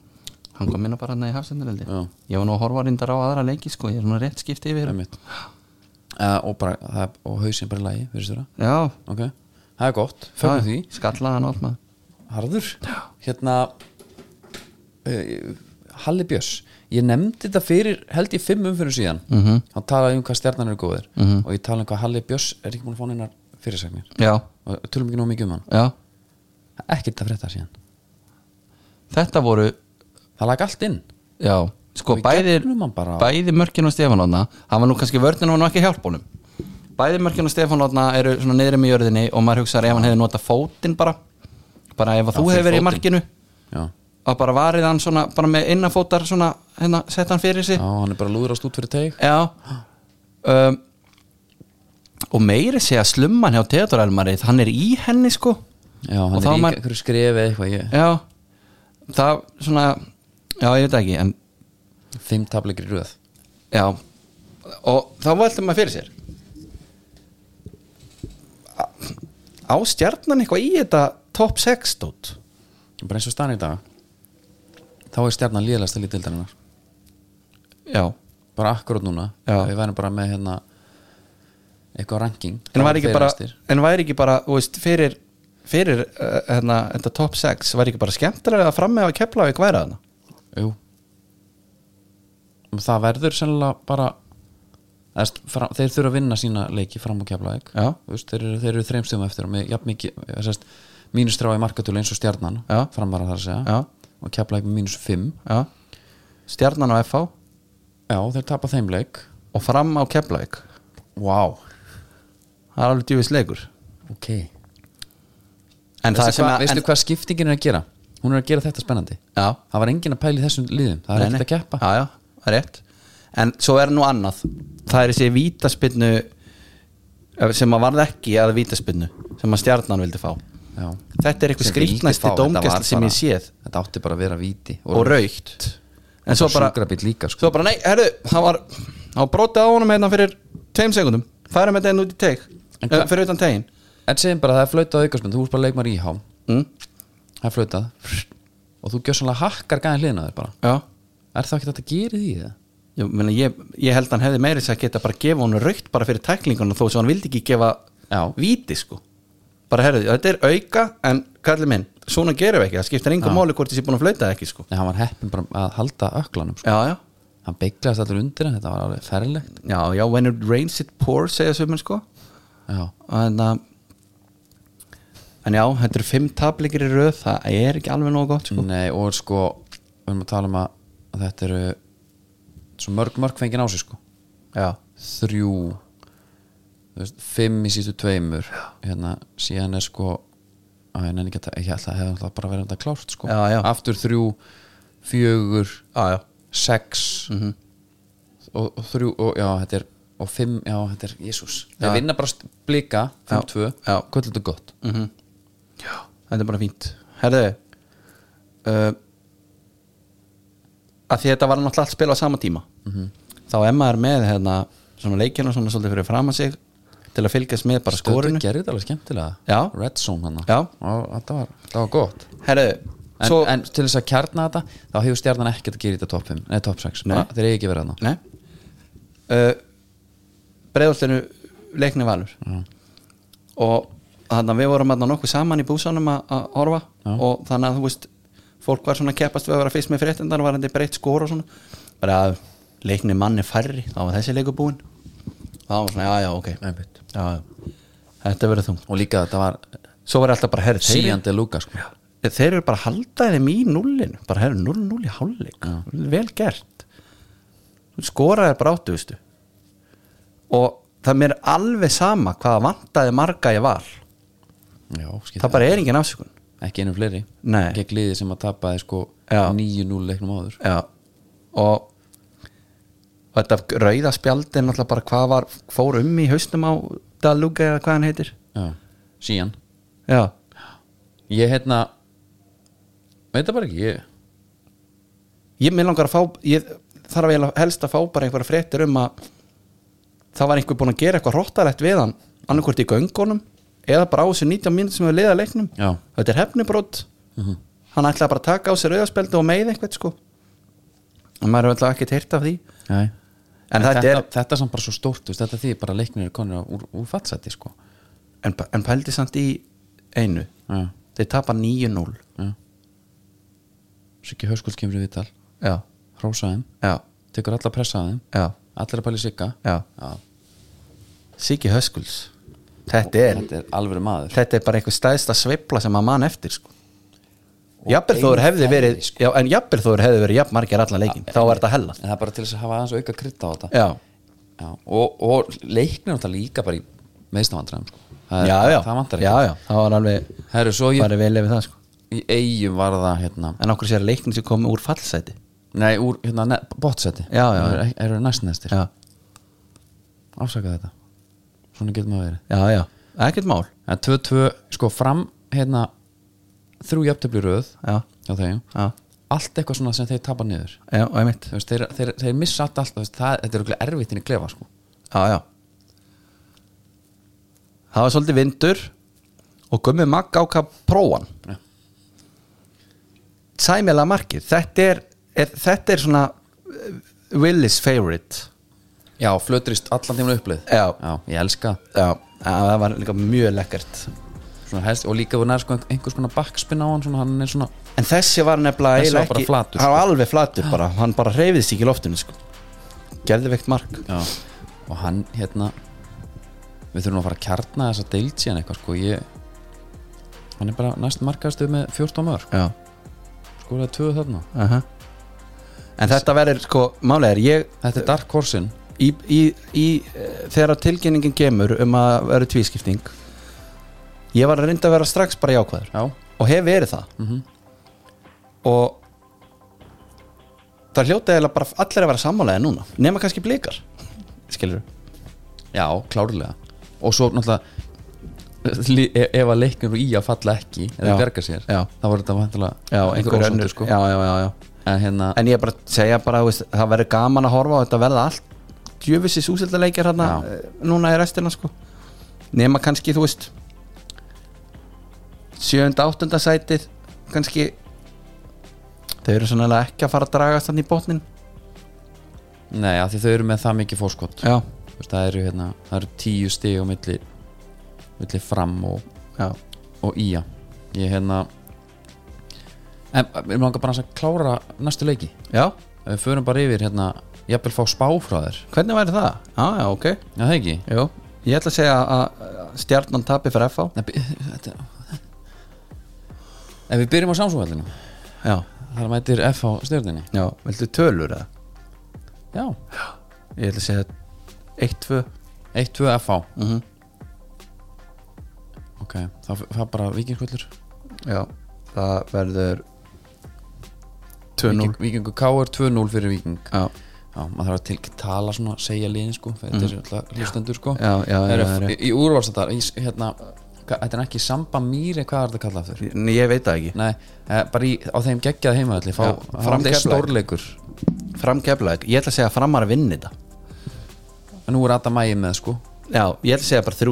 Speaker 3: hann kom inn á bara hann í hafsenduröldi
Speaker 2: Já.
Speaker 3: Ég var nú að horfa reyndar á aðra leiki sko, ég er nú rétt skipti yfir
Speaker 2: Einmitt. Uh, og bara, það, og hausinn bara í lagi, verður þú það?
Speaker 3: Já,
Speaker 2: Ok, það er gott, fögnum því
Speaker 3: skallaði hann allt maður
Speaker 2: Harður, hérna uh, Halli Björs ég nefndi þetta fyrir, held ég fimm umfyrir síðan mm
Speaker 3: Mhm.
Speaker 2: -hmm. hann talaði um hvað stjarnan eru góðir -hmm. og ég talaði um hvað Halli Björs er ekki búin að fá hennar fyrirsagnir
Speaker 3: Já,
Speaker 2: og tölum ekki nóg mikið um hann
Speaker 3: já,
Speaker 2: ekkert að frétta síðan,
Speaker 3: þetta voru
Speaker 2: það lag allt inn
Speaker 3: Já, sko
Speaker 2: Við
Speaker 3: bæði
Speaker 2: gegnum hann bara.
Speaker 3: bæði mörkin og Stefán Átna hann var nú kannski vörðin og hann var ekki hjálpunum bæði mörkin og Stefán Átna eru svona niðri með jörðinni og maður hugsaður ef hann hefði notað fótinn bara bara ef að þú
Speaker 2: fyrir
Speaker 3: hefur verið í
Speaker 2: fótinn.
Speaker 3: markinu
Speaker 2: Já.
Speaker 3: að bara varið hann svona bara með innanfótar svona hérna sett hann fyrir sig
Speaker 2: Já, hann er bara lúðrast út fyrir teig
Speaker 3: já um, og meiri segja slumman hjá Theodor Elmari hann er í henni sko
Speaker 2: Já, hann
Speaker 3: Og þá
Speaker 2: er í
Speaker 3: man-
Speaker 2: einhverju skrifi eitthvað ég,
Speaker 3: já, það svona já, ég veit ekki en,
Speaker 2: Fimm tablikir í röð
Speaker 3: já, og þá valdur maður fyrir sér Á- á stjarnan eitthvað í þetta top 6 stótt
Speaker 2: Bara eins og stann í dag Þá er stjarnan líðalegsta lítildarinnar
Speaker 3: já,
Speaker 2: Bara akkurát núna
Speaker 3: Já.
Speaker 2: Við værum bara með hérna Eitthvað ranking
Speaker 3: en væri ekki
Speaker 2: Þeir
Speaker 3: bara
Speaker 2: efstir.
Speaker 3: en væri ekki bara, þú veist, fyrir fyrir uh, hérna, þetta top 6 væri ekki bara skemmtilega að frammeða að kepla við hverja þarna
Speaker 2: Jú Um, Það verður sennilega bara eða, st- fra- Þeir þurfa að vinna sína leiki fram og kefla ekki
Speaker 3: Já.
Speaker 2: Vist, þeir, eru, þeir eru þreimstum eftir og með jafn mikið eða, sest, mínus þrá í markatölu eins og stjarnan
Speaker 3: Já.
Speaker 2: framvara þar að segja
Speaker 3: Já.
Speaker 2: og kefla ekki mínus fimm
Speaker 3: já, stjarnan á FH
Speaker 2: Já, þeir tapa þeim leik
Speaker 3: og fram á Keflavík
Speaker 2: Vá, wow.
Speaker 3: það er alveg djúvis leikur
Speaker 2: ok
Speaker 3: en það
Speaker 2: Veistu
Speaker 3: sem
Speaker 2: hvað,
Speaker 3: að
Speaker 2: veistu
Speaker 3: en,
Speaker 2: hvað skiptingin er að gera? Hún er að gera þetta spennandi
Speaker 3: já,
Speaker 2: Það var engin að pæla í þessum liðum Það er
Speaker 3: nei, nei.
Speaker 2: ekkert að keppa
Speaker 3: já, já, það er rétt en svo er nú annað það er þessi vítaspinnu sem að varð ekki að vítaspinnu sem að stjarnan vildi fá
Speaker 2: Já.
Speaker 3: þetta er eitthvað
Speaker 2: Sem vildi fá,
Speaker 3: skrýtnæsti
Speaker 2: þetta var
Speaker 3: dómgæsla sem
Speaker 2: bara-
Speaker 3: ég séð
Speaker 2: Þetta átti bara að vera víti
Speaker 3: og raukt en svo bara,
Speaker 2: sjúkrabíll líka sko.
Speaker 3: svo bara nei, herru, það var það var brotið á honum hérna fyrir tveim sekundum færa með þetta út í teg
Speaker 2: En
Speaker 3: eh,
Speaker 2: hvað-
Speaker 3: fyrir utan tegin
Speaker 2: En segjum bara að það er flautað á aukastmynd Þú úrst bara leikmar íhá
Speaker 3: mm,
Speaker 2: Það er flautað Og þú gjössanlega hakkar gæðin hliðina á þér bara
Speaker 3: já
Speaker 2: Er það ekki þetta að gera því það?
Speaker 3: Ég, meina, ég, ég held hann hefði meiri þess að geta bara gefa honum raukt bara fyrir tæklinguna þó sem hann vildi ekki gefa
Speaker 2: Já.
Speaker 3: víti sko bara herðu, þetta er auka en kallið minn, svona gerum við ekki það skiptir engum máli hvort þessi búin að flauta eða ekki sko
Speaker 2: Nei, hann var heppin bara að halda öklanum sko.
Speaker 3: já, já,
Speaker 2: Hann beiglaðist allur undir hann Þetta var alveg ferlegt
Speaker 3: já, já, when it rains it pours segja sömur sko
Speaker 2: Já,
Speaker 3: en, uh, en já, þetta eru fimm tablikir í röð það er ekki alveg nógu gott sko
Speaker 2: nei og sko Við erum að tala um að þetta eru Svo mörg mörg fengið á sig sko
Speaker 3: Mm, já,
Speaker 2: Þrjú þú veist, Fimm í sístu tveimur Hérna síðan er sko Æ, ég nenni ekki að ta- ég ætla að hefði alltaf bara verið þetta klárt sko
Speaker 3: Já, já.
Speaker 2: Aftur þrjú Fjögur
Speaker 3: já, Mhm. já,
Speaker 2: sex og, og þrjú og já þetta er og fimm, já þetta er Jésús þeir vinna bara st- blika, fimm,
Speaker 3: Já.
Speaker 2: tvö
Speaker 3: Já.
Speaker 2: hvað er þetta gott
Speaker 3: þetta er bara fínt herðu uh, að því þetta var náttúrulega allt spila á sama tíma
Speaker 2: Mhm.
Speaker 3: þá er maður með hérna, svona leikina svona svolítið fyrir fram að sig til að fylgjast með bara skorinu
Speaker 2: þetta gerði þetta alveg skemmtilega
Speaker 3: Já.
Speaker 2: Red Zone hann
Speaker 3: Já.
Speaker 2: þetta var, þetta var gott
Speaker 3: herðu,
Speaker 2: en,
Speaker 3: svo
Speaker 2: en til þess að kjarna þetta þá hefur stjarnan ekkert að gera í þetta top 5 nei top 6,
Speaker 3: Nei.
Speaker 2: bara, þeir eru ekki verið hann
Speaker 3: Nei uh, Breiðoltinu leikni valur og þannig að við vorum þarna nokkuð saman í búsanum að að horfa og þannig að þú veist fólk var svona að keppast við að vera fyrst með fréttindar var þetta breytt skor og svona bara að leikni manni færri þá var þessi leikur búinn þá var svona já já ok já, já. þetta verður þungt
Speaker 2: og líka þetta var
Speaker 3: svo var alltaf bara herri þeir,
Speaker 2: síjandi lúka sko.
Speaker 3: þeir eru bara að halda þeim í nullinu bara herri 0-0 í hálfleik vel gert skoraði bara áttuðustu og það mér er alveg sama hvað vantaði marga ég var
Speaker 2: já, skil
Speaker 3: það bara er engin afsökun
Speaker 2: ekki einu fleiri
Speaker 3: Nei.
Speaker 2: gegn liði sem að tapaði sko
Speaker 3: Já.
Speaker 2: 9-0 leiknum áður
Speaker 3: Já, og og þetta rauða spjaldi er náttúrulega bara hvað var, fór um í haustum á Daluga eða hvað hann heitir
Speaker 2: já. síjan
Speaker 3: Já,
Speaker 2: ég hérna veit það bara ekki ég
Speaker 3: ég með langar að fá ég þarf eiginlega helst að fá bara einhverja fréttir um að það var einhver búinn að gera eitthvað hróttalegt við hann annarkvort í göngunum eða bara á þessu 19 mínútur sem við liða leiknum
Speaker 2: Já.
Speaker 3: þetta er hefnibrót hann ætlaði bara að taka á sér auðarspeldu og meið einhvern sko en maður er alltaf ekkert heyrt af því
Speaker 2: Nei.
Speaker 3: en, þetta,
Speaker 2: þetta,
Speaker 3: er,
Speaker 2: þetta er samt bara svo stórt þú veist, þetta því bara leiknir er konir úr, úr fatsæti sko.
Speaker 3: en, en pældi samt í einu
Speaker 2: Já.
Speaker 3: þeir tapa 9-0
Speaker 2: Siggi Hauskvöld kemur í vital
Speaker 3: já,
Speaker 2: hrósa þeim,
Speaker 3: já,
Speaker 2: tekur alla pressa að þeim
Speaker 3: já,
Speaker 2: allir að pæli Sigga
Speaker 3: já
Speaker 2: Já.
Speaker 3: Siki Höskuls þetta er,
Speaker 2: þetta er alvöru maður
Speaker 3: þetta er bara einhver stæðsta sveifla sem maður mann eftir sko Jafnvel þóður
Speaker 2: ein
Speaker 3: hefði
Speaker 2: færri,
Speaker 3: verið já, en jafnvel þóður hefði verið jafn margir allan leikin þá var þetta hella
Speaker 2: en það er bara til þess að hafa aðeins auka krytta á þetta
Speaker 3: já,
Speaker 2: Já. og, og leiknir náttúrulega líka bara í meðstavandræðum sko. það, er-
Speaker 3: já, já,
Speaker 2: það vantar
Speaker 3: já,
Speaker 2: ekki
Speaker 3: já, það var alveg
Speaker 2: Herru, svo ég,
Speaker 3: farið vel yfir það sko
Speaker 2: í eigum var það hérna,
Speaker 3: en okkur sér að leikin sem kom úr fallsæti
Speaker 2: nei, úr hérna, bótsæti
Speaker 3: Já, já, já.
Speaker 2: eru, eru næstnæstir
Speaker 3: já,
Speaker 2: afsaka þetta svona getur maður verið
Speaker 3: já, já, ekkert mál
Speaker 2: en 2-2, sko fram hérna þrjú jafntöfli röð
Speaker 3: já,
Speaker 2: á þeim,
Speaker 3: já,
Speaker 2: allt eitthvað svona sem þeir tapa niður
Speaker 3: já, og einmitt
Speaker 2: Þú veist, þeir, þeir, þeir missa allt alltaf, þú veist, það, þetta er okkur erfitt inn í klefa sko.
Speaker 3: já, já það var svolítið vindur og gummi magg ákvað prófan
Speaker 2: Já.
Speaker 3: sæmjöla markið þetta er, er, þetta er svona eh, Willis favorite
Speaker 2: já, flötrist allan tíma upplið
Speaker 3: Já.
Speaker 2: ég elska það.
Speaker 3: já, það var líka mjög lekkert
Speaker 2: svona helst, og líka þú nær sko einhvers konar backspin á hann svona, hann er svona,
Speaker 3: en þessi var
Speaker 2: Þessi var
Speaker 3: nefnilega eiginlega
Speaker 2: bara
Speaker 3: ekki-
Speaker 2: flatur,
Speaker 3: hann var
Speaker 2: sko.
Speaker 3: alveg flatur bara, hann bara reyfiðist ekki í loftinu sko. gerði veikt mark
Speaker 2: já. og hann hérna við þurfum að fara að kjarna þessa deild síðan eitthvað sko, ég hann er bara næst markaðstuð með 14 mörg
Speaker 3: já
Speaker 2: sko, það er tvöðu þarna
Speaker 3: -huh. En þetta verður sko, málið er ég
Speaker 2: þetta er Dark Horse-in
Speaker 3: í, í, í, eh, þegar tilkynningin kemur um að verður tvískipting ég var að reynda að vera strax bara jákvæður
Speaker 2: já,
Speaker 3: og hef verið það og það hljóta eða bara allir að vera sammálaði núna nema kannski blikar skilur
Speaker 2: já, klárlega og svo náttúrulega li- e- ef að leiknir og í að falla ekki eða
Speaker 3: Já.
Speaker 2: berga sér,
Speaker 3: Já.
Speaker 2: þá var þetta vantilega
Speaker 3: já, einhver önnur
Speaker 2: sko.
Speaker 3: já, já, já, já.
Speaker 2: en hérna,
Speaker 3: en ég er bara að segja bara, þú veist, það verður gaman að horfa og þetta verða allt djöfisins úsildaleikir hérna
Speaker 2: Já.
Speaker 3: eh, núna í restina sko nema kannski þú veist sjönda, áttunda sætið kannski þau eru svona ekki að fara að dragast þannig í botnin
Speaker 2: nei, af því þau eru með það mikið fórskott
Speaker 3: já,
Speaker 2: Þú veist, það eru, hérna, það eru tíu stig á milli, milli fram og,
Speaker 3: já,
Speaker 2: og ía ég hérna en við langar bara að klára næstu leiki
Speaker 3: já
Speaker 2: Ef við förum bara yfir hérna jafnvel fá spá frá þér
Speaker 3: hvernig væri það? já, já, ok
Speaker 2: já það ekki
Speaker 3: Jú. ég ætla að segja að að stjarnan tapi fyrir FH
Speaker 2: Nei, by- þetta ef við byrjum á samsóhællinu
Speaker 3: já,
Speaker 2: þar mætir F á stjórninni
Speaker 3: já, viltu tölur eða?
Speaker 2: já
Speaker 3: ég ætla að segja 1-2
Speaker 2: 1-2 F á
Speaker 3: mm
Speaker 2: ok þá f- það bara vikingskvöldur
Speaker 3: Já, það verður 2-0
Speaker 2: vikingu K er 2-0 fyrir viking
Speaker 3: Já,
Speaker 2: já maður þarf að til tala svona segja liðin sko þetta er alltaf hlustendur sko
Speaker 3: Mm. já, já,
Speaker 2: Það
Speaker 3: já,
Speaker 2: eru
Speaker 3: já,
Speaker 2: í, í úrvalstættar hérna, hva- þetta er ekki samba mýri hvað er þetta kallað aftur?
Speaker 3: Nei, ég veit það ekki
Speaker 2: Nei, eh, bara í, á þeim geggjað heimaðalli
Speaker 3: Já,
Speaker 2: fá
Speaker 3: fram
Speaker 2: framlega
Speaker 3: Keflavík.
Speaker 2: stórleikur
Speaker 3: Fram keflaðið, ég ætla að segja að framar að vinna þetta
Speaker 2: en nú er Adam Ægi með sko
Speaker 3: Já, ég ætla að segja bara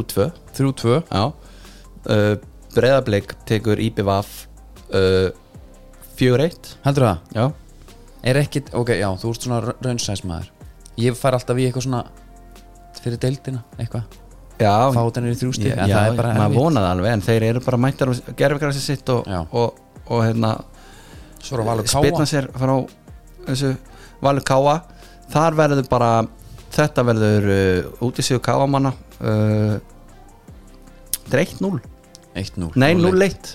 Speaker 3: 3-2
Speaker 2: 3-2
Speaker 3: Já uh, Breiðablik tekur IPVAF uh, 4-1
Speaker 2: heldur það?
Speaker 3: Já
Speaker 2: Er ekkit, ok, já, þú ert svona raunsæsmaður ég fær alltaf í eitthvað svona fyrir deildina, eitthvað
Speaker 3: Já,
Speaker 2: fá þetta niður í þrjústi,
Speaker 3: já,
Speaker 2: en það er bara
Speaker 3: maður
Speaker 2: erfitt.
Speaker 3: vonaði alveg en þeir eru bara mættar og gerfi græsi sitt og,
Speaker 2: Já.
Speaker 3: og, og hérna
Speaker 2: svo er að valur
Speaker 3: spilna
Speaker 2: káa
Speaker 3: sér frá þessu Valur Káa þar verður bara þetta verður uh, út í sig Káamanna uh, þetta er 1-0
Speaker 2: 1-0
Speaker 3: nei 0-1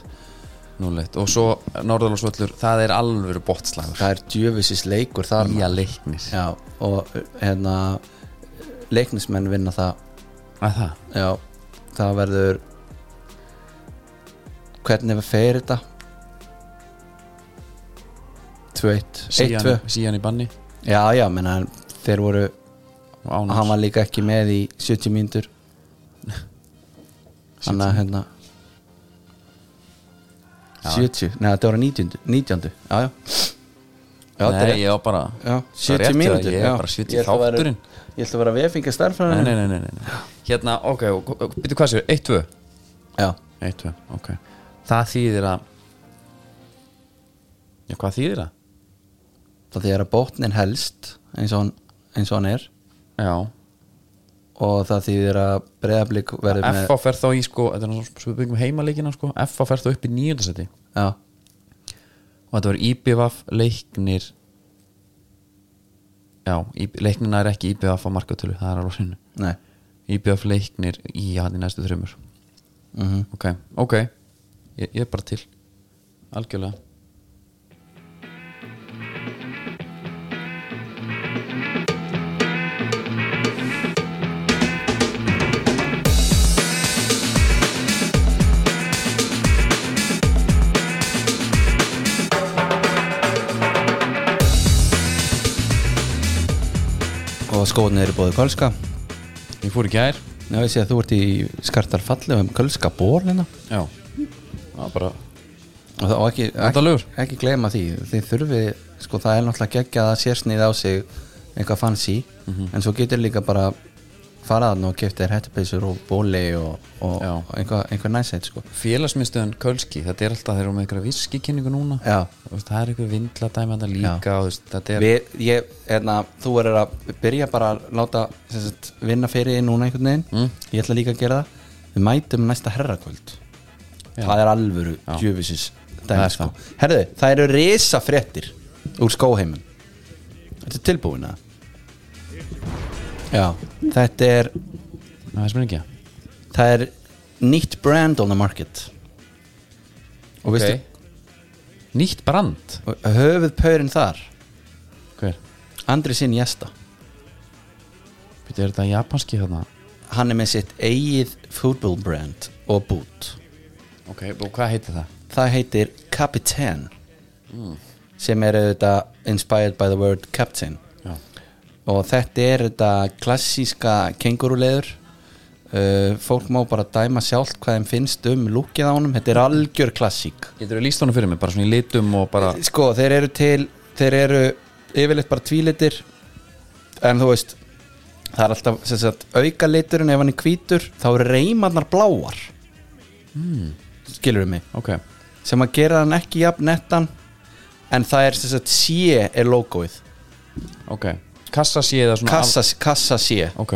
Speaker 2: 0-1 og svo Norðurlandsvöllur, það er alvöru botslagur
Speaker 3: það er djöfisins leikur þar
Speaker 2: Ía leiknis
Speaker 3: já, og uh, hérna leiknismenn vinna það
Speaker 2: að það,
Speaker 3: já, það verður hvernig fer þetta 2-1 1-2
Speaker 2: síðan, síðan í banni
Speaker 3: já já, menna þeir voru
Speaker 2: og ánum
Speaker 3: og hann var líka ekki með í 70 mínútur hann að hérna 70, neða þetta voru 90 90, já já já, þetta er-
Speaker 2: Nei, ég var bara það
Speaker 3: já
Speaker 2: er rétt,
Speaker 3: 70 mínútur
Speaker 2: Ég
Speaker 3: já.
Speaker 2: er bara 70
Speaker 3: Ég ætla að vera-
Speaker 2: þátturinn
Speaker 3: ég ætla að vera vefinga
Speaker 2: nei, nei,
Speaker 3: starfræðin
Speaker 2: nei, nei, nei, nei Hérna, ok, og- og- býttu hvað sér, 1-2
Speaker 3: já,
Speaker 2: 1-2, ok Það þýðir að Já, hvað þýðir það?
Speaker 3: það því er að botnin helst eins og hann, eins og hann er
Speaker 2: Já,
Speaker 3: og það þýðir að breyðablík verður með
Speaker 2: F.A. fer þá í sko Þetta er náttúrulega svo við byggjum heimalikina sko F.A. fer þá upp í nýjöndasetti
Speaker 3: já,
Speaker 2: Og þetta var IBVF leiknir Já, IB, leiknina er ekki IBVF á markatölu Það er alveg sinni
Speaker 3: nei
Speaker 2: IBVF leiknir í hann í næstu þrjumur
Speaker 3: mm
Speaker 2: Ok, ok Ég, ég er bara til Algjörlega
Speaker 3: og skóðin eru bóðið kölska
Speaker 2: Ég fór í gær
Speaker 3: Já, ég sé að þú ert í skartarfalli um kölska bor hérna
Speaker 2: Já, það er bara
Speaker 3: og, það- og ekki,
Speaker 2: Vandalegur.
Speaker 3: ekki, ekki gleyma því þið þurfi, sko það er náttúrulega geggja að sérsnið á sig eitthvað fancy en svo getur líka bara faraðan og keftir hættupeysur og bóli og, og
Speaker 2: Já.
Speaker 3: einhver, einhver næsætt sko
Speaker 2: félagsmyndstöðun Kölski, þetta er alltaf þeir eru með einhverja viskikynningu núna
Speaker 3: Já.
Speaker 2: Þú veist, það er einhver vindladæmi þetta líka og, þú veist, þetta er,
Speaker 3: Við, ég, hérna, þú er að byrja bara að láta sem sagt, vinna fyrir þig núna einhvern veginn
Speaker 2: Mm.
Speaker 3: ég ætla líka að gera það við mætum næsta herrakvöld það er alvöru djöfisins
Speaker 2: Það er
Speaker 3: sko. herðu, það eru risa fréttir úr skóheimin þetta er tilbúin að já, þetta er
Speaker 2: það er sem er ekki
Speaker 3: það er nýtt brand on the market og okay.
Speaker 2: Nýtt brand
Speaker 3: veistu höfuð pörin þar
Speaker 2: Hver?
Speaker 3: Andri sinn jesta
Speaker 2: Býttu, er þetta japanski þarna?
Speaker 3: hann er með sitt eigið football brand og bút
Speaker 2: Ok, og hvað heitir það?
Speaker 3: það heitir Capitan sem er auðvitað inspired by the word captain
Speaker 2: Já.
Speaker 3: og þetta er þetta klassíska kenguruleður uh, fólk má bara dæma sjálft hvað þeim finnst um lúkið á honum, þetta er algjör klassík
Speaker 2: Getur þú líst honum fyrir mig, bara svona í litum og bara
Speaker 3: sko, þeir eru til þeir eru yfirleitt bara tvílitir en þú veist það er alltaf, sem sagt, auka liturinn ef hann er hvítur, þá eru reymarnar bláar mm. skilur við mig
Speaker 2: Ok,
Speaker 3: sem að gera hann ekki jafn nettan en það er sem sagt sé er logoið
Speaker 2: ok Kassa sé það svona
Speaker 3: kassa, kassa sé
Speaker 2: al- Ok,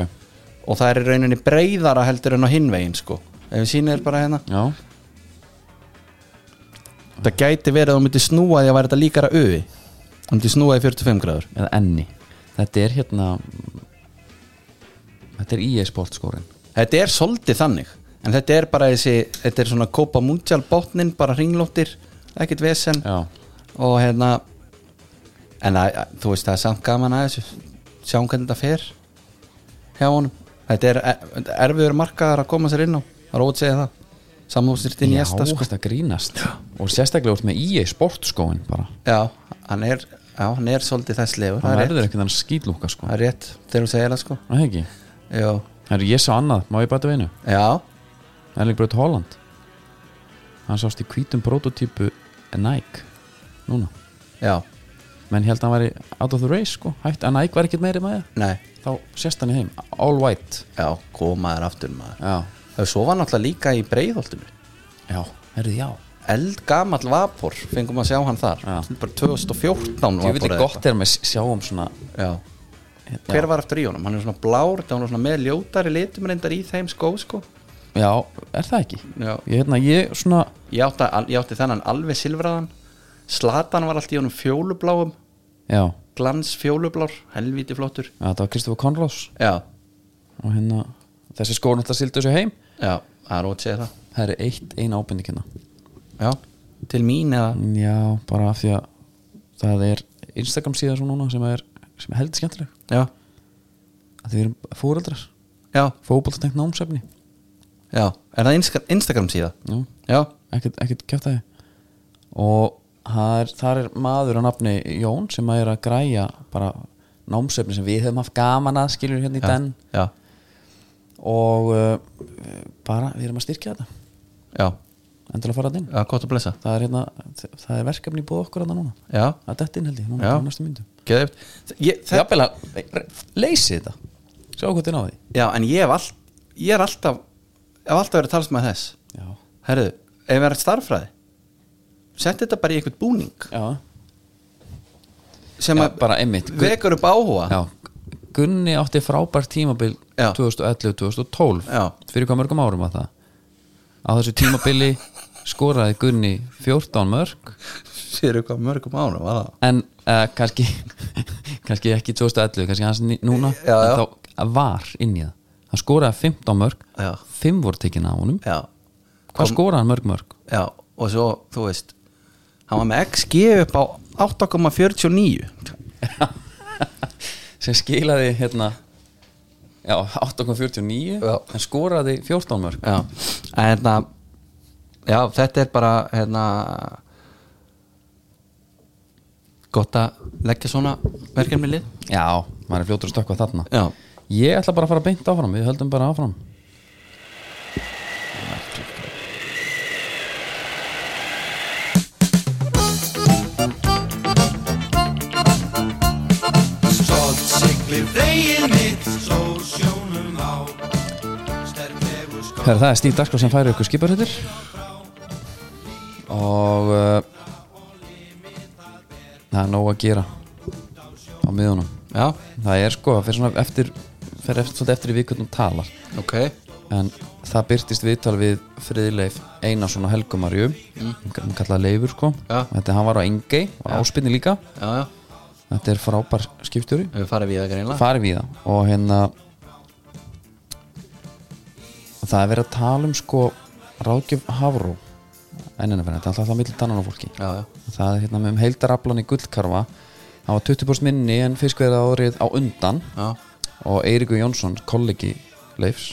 Speaker 3: og það er í rauninni breyðara heldur en á hinvegin sko ef við sýnir þér bara hérna
Speaker 2: já
Speaker 3: það gæti verið að þú myndir snúa því að væri þetta líkara auði þú myndir snúa því 45 gráður
Speaker 2: Eða enni Þetta er hérna Þetta er E EA sportskórin
Speaker 3: þetta er svolítið þannig en þetta er bara þessi þetta er svona kópa mundial botnin bara ringlóttir ekkert vesen
Speaker 2: Já,
Speaker 3: og hérna en að, að, þú veist það er samt gaman að þessu sjáum hvernig þetta fer hjá honum þetta er er- erfiður markaðar að koma sér inn á það er ótt segja það samlóðsýrt inn í
Speaker 2: já
Speaker 3: esta sko.
Speaker 2: þetta grínast Og sérstaklega út með E EA sportskóin bara
Speaker 3: já, hann er, já, hann er svolítið þess lefur
Speaker 2: Það
Speaker 3: það er rétt,
Speaker 2: verður einhvern veginn skýtlúka sko
Speaker 3: það er rétt þegar þú segir það sko
Speaker 2: Það er ekki
Speaker 3: já,
Speaker 2: Herru, ég sá annað, má ég bæta við einu
Speaker 3: já,
Speaker 2: Erling Braut Holland Hann sást í hvítum prototípu Nike Núna
Speaker 3: já,
Speaker 2: Menn held að hann væri out of the race sko Hætt að Nike var ekkert meiri með
Speaker 3: nei
Speaker 2: það Þá sérst hann í heim, all white
Speaker 3: já, komaður aftur maður
Speaker 2: Já,
Speaker 3: þau sofa náttúrulega líka í breiðholtinu
Speaker 2: já, herru, já
Speaker 3: eldgamall vapor, fengum að sjá hann þar
Speaker 2: Já.
Speaker 3: bara 2014
Speaker 2: Ég veit
Speaker 3: eða
Speaker 2: gott er með sjáum svona
Speaker 3: Já Hver var eftir í honum? Hann er svona blár, það var svona með ljótari litum reyndar í þeim skó sko
Speaker 2: Já, er það ekki?
Speaker 3: Já.
Speaker 2: Ég, hérna, ég svona
Speaker 3: Ég átti, ég átti þennan alveg silfraðan Slatan var allt í honum fjólubláum
Speaker 2: Já,
Speaker 3: Glans fjólublár, helvíti flottur
Speaker 2: já það var Kristofur Conrós
Speaker 3: Já,
Speaker 2: Og hérna, þessi skór náttúrulega sildu þessu heim
Speaker 3: já, það er ótt segja það
Speaker 2: Það er eitt, eina ábending hérna
Speaker 3: Já, til mín eða
Speaker 2: Já, bara af því að það er Instagram síðan svo núna sem er, sem er heldur skemmtileg
Speaker 3: Já,
Speaker 2: að þið erum fóreldrar,
Speaker 3: já,
Speaker 2: fótboltatengt námsefni
Speaker 3: já Er það Insta- Instagram síða?
Speaker 2: Já,
Speaker 3: Já,
Speaker 2: ekkert, ekkert kjátt að og það er, þar er maður að nafni Jón sem að er að græja bara námsefni sem við höfum haft gaman að skiljur hérna í den
Speaker 3: já,
Speaker 2: og uh, bara við erum að styrkja þetta
Speaker 3: já,
Speaker 2: endilega fara þetta inn
Speaker 3: já, gott að blessa
Speaker 2: það er, hérna, það er verkefni búið okkur að það núna
Speaker 3: Já,
Speaker 2: að þetta inn held ég, núna
Speaker 3: Já.
Speaker 2: á næstu myndum
Speaker 3: geðið ég,
Speaker 2: Það
Speaker 3: það,
Speaker 2: er bara leysið þetta Sjá hvað þið náði
Speaker 3: já, en ég hef all, ég er alltaf Ég hef alltaf verið að tala með þess
Speaker 2: Já,
Speaker 3: Herðu, ef það er starffræði Sett þetta bara í einhvern búning
Speaker 2: já.
Speaker 3: sem
Speaker 2: Já,
Speaker 3: að
Speaker 2: bara einmitt.
Speaker 3: vekur upp áhuga
Speaker 2: já. Gunni átti frábært tímabil
Speaker 3: Já.
Speaker 2: 2011-2012
Speaker 3: Já.
Speaker 2: Fyrir hvað mörgum árum að það Á þessu tímabili skoraði Gunni 14 mörg
Speaker 3: sér eitthvað mörgum ánum var það
Speaker 2: En uh, kannski kannski ekki 2011, kannski hans ný- núna
Speaker 3: Já, já.
Speaker 2: En þá var inn í það Hann skoraði 15 mörg
Speaker 3: Já.
Speaker 2: 5 voru tekin á honum
Speaker 3: já,
Speaker 2: Hvað skoraði hann mörg mörg?
Speaker 3: já, og svo, þú veist hann var með XG upp á 8,49
Speaker 2: sem skilaði hérna já, 8.49
Speaker 3: Já.
Speaker 2: en skoraði 14 mörg
Speaker 3: já, en hérna já, þetta er bara hérna gott að leggja svona verkefni í lið
Speaker 2: já, maður er fljótur að stökkva þarna
Speaker 3: já,
Speaker 2: ég ætla bara að fara beint áfram, við höldum bara áfram
Speaker 4: Við veginn mitt Svo sjónum á Sterklegu skó
Speaker 2: Herra, það er Stíf Dagskrá sem færi ykkur skiparhættir og uh, það er nóg að gera á miðunum
Speaker 3: Já,
Speaker 2: það er sko, það fer svona eftir fer eftir, svolítið eftir í vikundum talar
Speaker 3: ok
Speaker 2: en það byrtist viðtal við friðleif Einarsson og Helgu Marju hann kallaði Leifur sko
Speaker 3: Mm. Já.
Speaker 2: þetta hann var á Engei, var áspinni líka
Speaker 3: Já, já,
Speaker 2: þetta er frábær skiptjóri
Speaker 3: við farið við það greinlega
Speaker 2: farið við það og hérna og það er verið að tala um sko ráðgjöf Hafró ennina fyrir þetta, alltaf það millir tannan á fólki
Speaker 3: Já, já,
Speaker 2: það er hérna með um heildaraflan í gullkarfa það var 20% minni en fiskverða árið á undan
Speaker 3: já,
Speaker 2: og Eiríkur Jónsson, kollegi Leifs,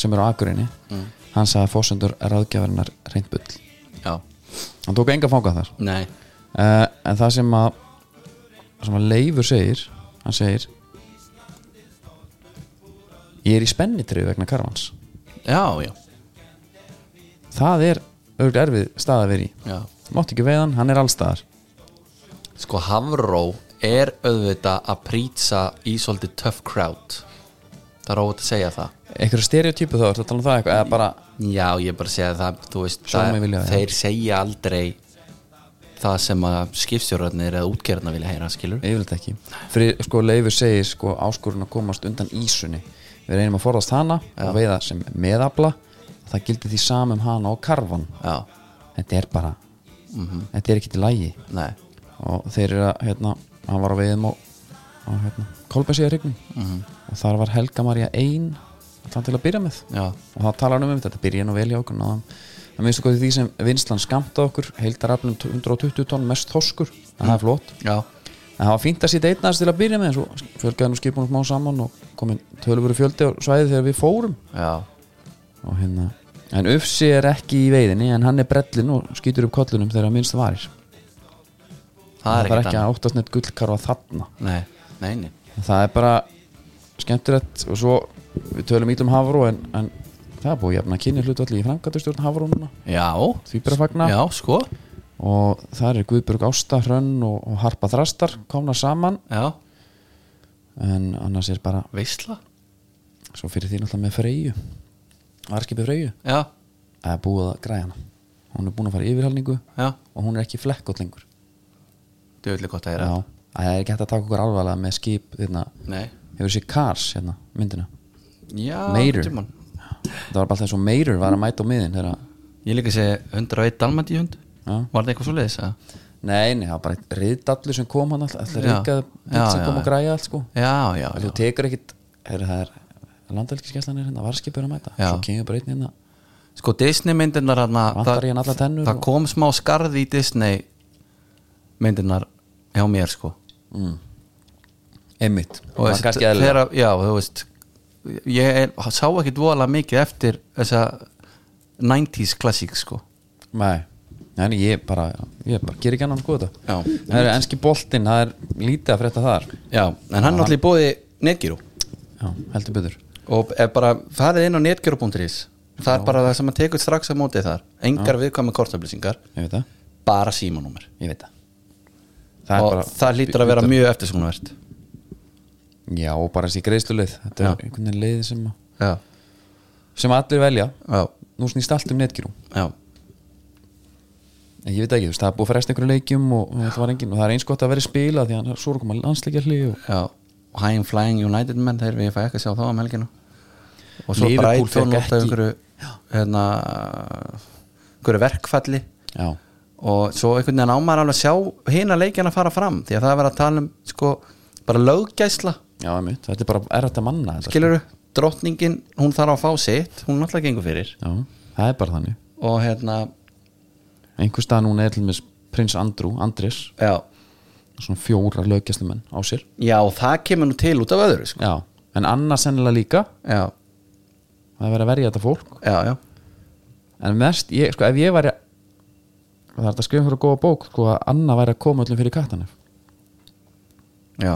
Speaker 2: sem er á Akurinni hann sagði að fósendur ráðgjafarinnar reynd bull,
Speaker 3: já
Speaker 2: hann tók enga fanga þar
Speaker 3: Nei,
Speaker 2: uh, en það sem að sem að Leifur segir hann segir ég er í spennitrið vegna karvans
Speaker 3: já, já,
Speaker 2: það er auðvitað erfið stað að vera í
Speaker 3: já
Speaker 2: mátt ekki veiðan, hann er allstaðar
Speaker 3: Sko Hafró er auðvitað að prýtsa í svolítið tough crowd Það er óvægt að segja það
Speaker 2: einhverju stereotypu þá, ertu að tala um það eitthvað eða bara,
Speaker 3: Já, ég bara segja það, þú veist
Speaker 2: Sjómenn
Speaker 3: það-
Speaker 2: vilja það,
Speaker 3: Þeir segja aldrei það sem að skipstjórarnir eða útgerðna vilja heyra, skilur
Speaker 2: yfirleitt ekki Fyrir, sko, Leifur segir sko, áskorun að komast undan ísunni við reynum að forðast hana og veiða sem meðabla það gildi því samum hana og karfan
Speaker 3: Já, mhm.
Speaker 2: þetta er bara þetta er ekki til lægi
Speaker 3: nei,
Speaker 2: og þeir eru að, hérna, hann var á veiðum á, á hérna, Kolbensíðarhygnum og þar var Helga Maria ein allan til að byrja með
Speaker 3: já,
Speaker 2: og það talar hann um um þetta, þetta byrja nú vel hjá okkur náðan. það minnstu hvað því sem vinslan skamta okkur heildaraflum 120 tonn mest þoskur, það er flott
Speaker 3: já,
Speaker 2: En það var fínt að sýta einnast til að byrja með en svo fjölgaði nú skipunum smá saman og komin tölvöru fjöldi á svæði þegar við fórum
Speaker 3: já
Speaker 2: og hérna en Ufsi er ekki í veiðinni en hann er brellin og skýtur upp kollunum þegar minnst varir
Speaker 3: Það er
Speaker 2: það er
Speaker 3: ekkert
Speaker 2: ekki
Speaker 3: annað
Speaker 2: að óttast neitt gullkarfa þarna
Speaker 3: Nei, nei, nei
Speaker 2: það er bara skemmtilegt og svo við tölum ítlum Hafró en, en það er búið jafna kynni hlutvalli í framkvæmdastjórn Hafró núna
Speaker 3: Já,
Speaker 2: því bara fagna
Speaker 3: já, sko
Speaker 2: og það er Guðbjörg Ásta, Hrönn og, og Harpa Þrastar komna saman
Speaker 3: Já,
Speaker 2: en annars er bara
Speaker 3: veistla
Speaker 2: svo fyrir því náttúrulega með Freyju varskipið Freyju
Speaker 3: Já,
Speaker 2: það er búið að græja hana hún er búin að fara í yfirhalningu
Speaker 3: já,
Speaker 2: og hún er ekki flekkot lengur
Speaker 3: djöfli gott að
Speaker 2: já,
Speaker 3: heyra
Speaker 2: það er ekki hægt að taka okkur alvarlega með skip hérna.
Speaker 3: Nei,
Speaker 2: hefur sér Cars hérna, myndina
Speaker 3: já,
Speaker 2: Meirur.
Speaker 3: einhvern tímann.
Speaker 2: það var bara þess að Meirur var að mæta á miðin þegar að
Speaker 3: Ég líka að segja 101 dalmandi hund
Speaker 2: Já.
Speaker 3: Var það eitthvað svo leiðis að
Speaker 2: nei, nei, það var bara eitt riðdallu sem kom hann alltaf, alltaf
Speaker 3: Já.
Speaker 2: ríkað
Speaker 3: Já,
Speaker 2: sem
Speaker 3: já,
Speaker 2: kom
Speaker 3: já.
Speaker 2: að græja allt sko
Speaker 3: Já,
Speaker 2: Ef
Speaker 3: já, já,
Speaker 2: þú tekur ekkit, heyrðu, það er landhelgiskeslan er hérna, varskipið er að mæta
Speaker 3: Já.
Speaker 2: svo kemur bara einn hérna
Speaker 3: Sko Disney myndirnar hana,
Speaker 2: Vantar í hann allar tennur
Speaker 3: það
Speaker 2: og-
Speaker 3: kom smá skarði í Disney myndirnar hjá mér sko
Speaker 2: Mm. einmitt,
Speaker 3: Og
Speaker 2: það
Speaker 3: veist,
Speaker 2: er kannski eðlilega
Speaker 3: þegar- Já, þú veist ég er, sá ekkit voðalega mikið eftir þessa 90s klassík sko
Speaker 2: Nei, en ég bara, ég bara ger ekki annan sko þetta
Speaker 3: Já.
Speaker 2: Það eru enski boltinn, það er lítið að frétta þar
Speaker 3: Já, en hann náttúrulega bóði netgíru
Speaker 2: Já, heldur byggður
Speaker 3: og er bara farið inn á netgíru.is það er bara það sem að tekur strax að móti þar engar viðkvæmi kortöflýsingar
Speaker 2: Ég veit það,
Speaker 3: bara símanúmer
Speaker 2: ég veit það
Speaker 3: og
Speaker 2: er bara-
Speaker 3: það lítur að vera mjög eftirskonvert
Speaker 2: Já, og bara þessi greiðsluleið Þetta
Speaker 3: Já.
Speaker 2: er einhvern veginn leið sem, að-
Speaker 3: Já,
Speaker 2: sem allir velja
Speaker 3: já,
Speaker 2: Nú snýst allt um netgíru
Speaker 3: já,
Speaker 2: En ég veit ekki, þú veist, það er búið að fresta einhverjum leikjum og, og það var engin, og það er eins gott að vera spila því að svo er að koma landsleikja hli og
Speaker 3: já. og High Flying United menn þeir við fæ ekki að sjá þá á melginu og svo
Speaker 2: Liverpool
Speaker 3: Brighton
Speaker 2: fekk
Speaker 3: út af
Speaker 2: ekki.
Speaker 3: einhverju hérna, einhverju verkfalli
Speaker 2: Já,
Speaker 3: og svo einhvern veginn ámar alveg að sjá hina leikina fara fram því að það er verið að tala um sko, bara löggæsla
Speaker 2: já, einmitt, þetta er bara errætt að manna þetta, sko.
Speaker 3: skiluru, drottningin, hún þarf að fá sitt hún náttúrulega gengur fyrir
Speaker 2: Já, það er bara þannig
Speaker 3: og hérna,
Speaker 2: Einhvers staðar núna er til með prins Andrú, Andris
Speaker 3: já,
Speaker 2: svona fjóra löggjastamenn á sér
Speaker 3: já og það kemur nú til út af öðru sko.
Speaker 2: Já, en annars sennilega líka
Speaker 3: já,
Speaker 2: það er verið að verja þetta fólk
Speaker 3: já, já,
Speaker 2: en mest, ég, sko, ef ég væri það er þetta að skrifa fyrir að góða bók sko, að Anna væri að koma öllum fyrir kattanef
Speaker 3: já,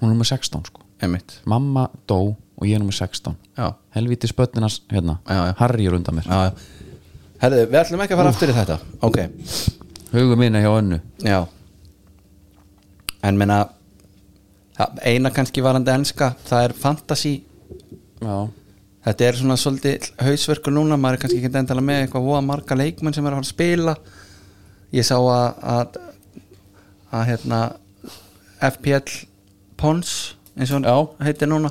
Speaker 2: hún er nummer 16, sko
Speaker 3: einmitt
Speaker 2: mamma dó og ég er nummer 16
Speaker 3: já,
Speaker 2: helviti spötninas, hérna,
Speaker 3: Já, já.
Speaker 2: Harry er undan mér
Speaker 3: já, já Herðu, við ætlum ekki að fara aftur í þetta ok,
Speaker 2: hugur minna hjá önnu
Speaker 3: já en menna ja, eina kannski varandi enska það er fantasy
Speaker 2: já,
Speaker 3: þetta er svona svolítið hausverkur núna maður er kannski ekki endala með eitthvað voða marga leikmenn sem er að fara að spila ég sá að að, að hérna FPL Pons eins og
Speaker 2: Já.
Speaker 3: hann heitir núna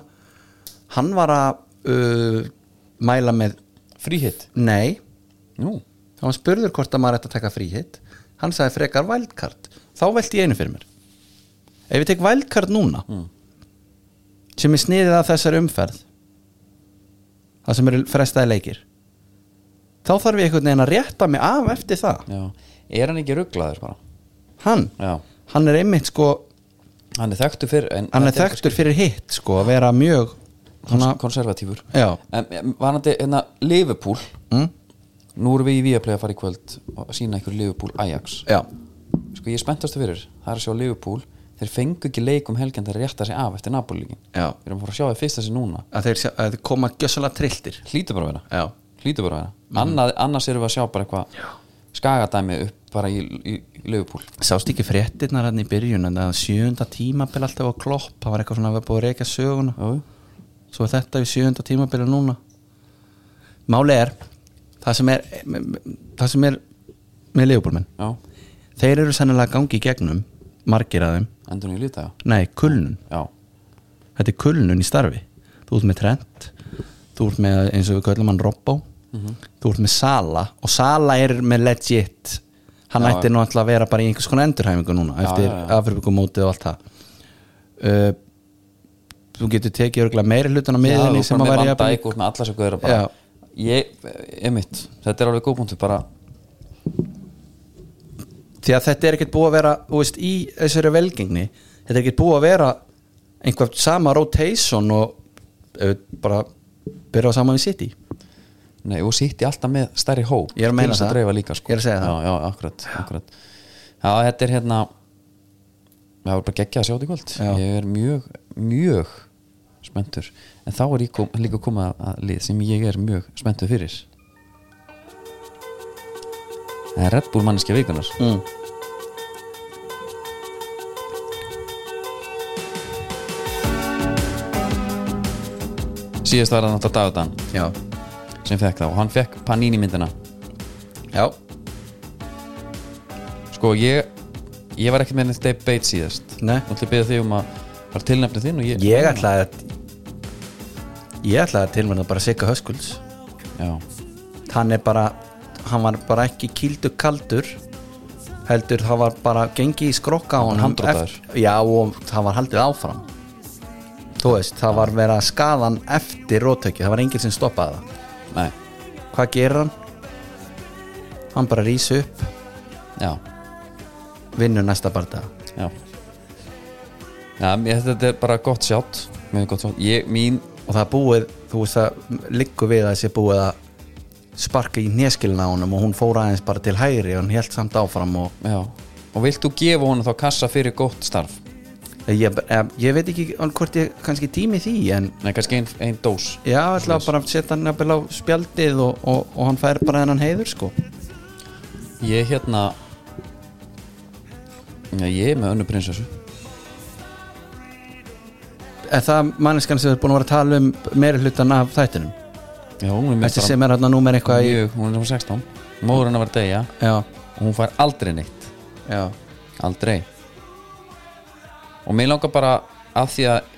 Speaker 3: hann var að uh, mæla með
Speaker 2: fríhitt
Speaker 3: nei
Speaker 2: Nú,
Speaker 3: þá hann spurður hvort að maður ætti að taka fríhitt hann sagði frekar vældkart þá velti ég einu fyrir mér ef ég tek vældkart núna sem er sniðið að þessar umferð það sem eru frestaði leikir þá þarf ég einhvern veginn að rétta mig af eftir það
Speaker 2: já Er hann ekki rugglaður bara?
Speaker 3: hann,
Speaker 2: Já,
Speaker 3: hann er einmitt sko
Speaker 2: hann er þekktur fyrir en,
Speaker 3: hann er Sko. þekktur fyrir hitt sko að vera mjög
Speaker 2: svona
Speaker 3: svona,
Speaker 2: konservatífur
Speaker 3: Já.
Speaker 2: En em, varandi, hérna, Liverpool
Speaker 3: mm,
Speaker 2: Nú erum við í Viaplay að fara í kvöld og sína ykkur Liverpool Ajax
Speaker 3: já,
Speaker 2: Sko ég er spenntastu fyrir, það er að sjá Liverpool Þeir fengu ekki leik um helgin þeir rétta sig af eftir Napoli-líkin
Speaker 3: já
Speaker 2: Við erum að fara að sjá það fyrsta sig núna
Speaker 3: að þeir, sjá- að þeir koma gjössalega trilltir
Speaker 2: Hlýtur bara að vera
Speaker 3: já,
Speaker 2: Hlýtur bara að vera
Speaker 3: Mhm.
Speaker 2: Annað, Annars erum við að sjá bara eitthvað skagadæmi upp bara í, í, í Liverpool
Speaker 3: Sást ekki fréttirnar hann í byrjun en það var sjöunda tímabil alltaf á klopp það var eitthvað svona að vera búið að reyka söguna
Speaker 2: Jú,
Speaker 3: svo er þetta við sjöunda tímabil núna Máli er það sem er það sem er með liðbúlmenn
Speaker 2: já,
Speaker 3: þeir eru sennilega að gangi í gegnum margir að þeim,
Speaker 2: endur nýju lítið
Speaker 3: nei, kulnun
Speaker 2: Já,
Speaker 3: þetta er kulnun í starfi þú ert með Trent, þú ert með eins og við köllum hann Robbo
Speaker 2: Mhm.
Speaker 3: þú ert með Sala og Sala er með legit hann
Speaker 2: Já,
Speaker 3: ætti
Speaker 2: já.
Speaker 3: nú alltaf að vera bara í einhvers konar endurhæfingu núna
Speaker 2: Já,
Speaker 3: eftir
Speaker 2: já, já.
Speaker 3: Afrikumótið og allt það uh, þú getur tekið örgulega meiri hlutan á miðinni sem að vera
Speaker 2: jafn
Speaker 3: jafn-
Speaker 2: Dæk út með alla sem guður bara
Speaker 3: Já.
Speaker 2: Ég, emitt, þetta er alveg góð punktu bara
Speaker 3: því að þetta er ekkert búið að vera þú veist, í þessari velgengni þetta er ekkert búið að vera einhver sama rotation og uh, bara byrja á saman við City
Speaker 2: Nei, og sitt í alltaf með stærri hóp
Speaker 3: Ég er að meina
Speaker 2: til þess
Speaker 3: það.
Speaker 2: dreifa líka, sko.
Speaker 3: Ég er að segja
Speaker 2: já,
Speaker 3: það.
Speaker 2: Já, akkurat, akkurat Já, þetta er hérna Það var bara geggja að sjá þetta í kvöld
Speaker 3: Já.
Speaker 2: Ég er mjög, mjög spenntur En þá er ég kom, líka komað að- að lið sem ég er mjög spenntur fyrir Það er Red Bull manneskja vikunar
Speaker 3: mm.
Speaker 2: Síðast var það náttúrulega Dagudan
Speaker 3: já,
Speaker 2: sem fekk það og hann fekk Panini myndina
Speaker 3: já,
Speaker 2: Sko, ég, ég var ekkert með neitt debate síðast
Speaker 3: Nei.
Speaker 2: Nú ætla ég að byrja þig um að bara tilnefni þinn og ég
Speaker 3: ég ætlaði að ég ætlaði að tilvæmna bara Sigga Höskulds
Speaker 2: Já,
Speaker 3: hann er bara hann var bara ekki kýldu kaldur heldur það var bara gengið í skrokka á
Speaker 2: var
Speaker 3: honum
Speaker 2: handrótaður.
Speaker 3: eft- já og það var haldið áfram þú veist það var verið að skaða hann eftir rótökið það var enginn sem stoppaði það
Speaker 2: nei,
Speaker 3: hvað gerir hann? hann bara rýs upp
Speaker 2: já
Speaker 3: vinnur næsta barða
Speaker 2: Já Já, mér, þetta er bara gott sjátt Mér er gott sjátt Ég, mín
Speaker 3: og það er búið þú veist það liggur við að þessi búið að sparka í neskilna á honum og hún fór aðeins bara til hægri og hann held samt áfram og
Speaker 2: Já Og vilt þú gefa honum þá kassa fyrir gott starf?
Speaker 3: ég, ég, ég veit ekki alveg hvort ég kannski tími því en
Speaker 2: Nei, kannski ein, ein dós
Speaker 3: já, ætla bara að setja hann jafnvel á spjaldið og, og, og hann fær bara hennan heiður sko
Speaker 2: Ég hérna Já, ég er með önnu prinsessu
Speaker 3: er það manneskan sem er búin að vera að tala um meiri hlutan af þættinum
Speaker 2: Já, hún er mér
Speaker 3: þessi sem er hann númer eitthvað í,
Speaker 2: mjög, Hún er númer 16 Móður hennar var degja
Speaker 3: já,
Speaker 2: Og hún fær aldrei neitt
Speaker 3: já,
Speaker 2: Aldrei Og mér langar bara að því að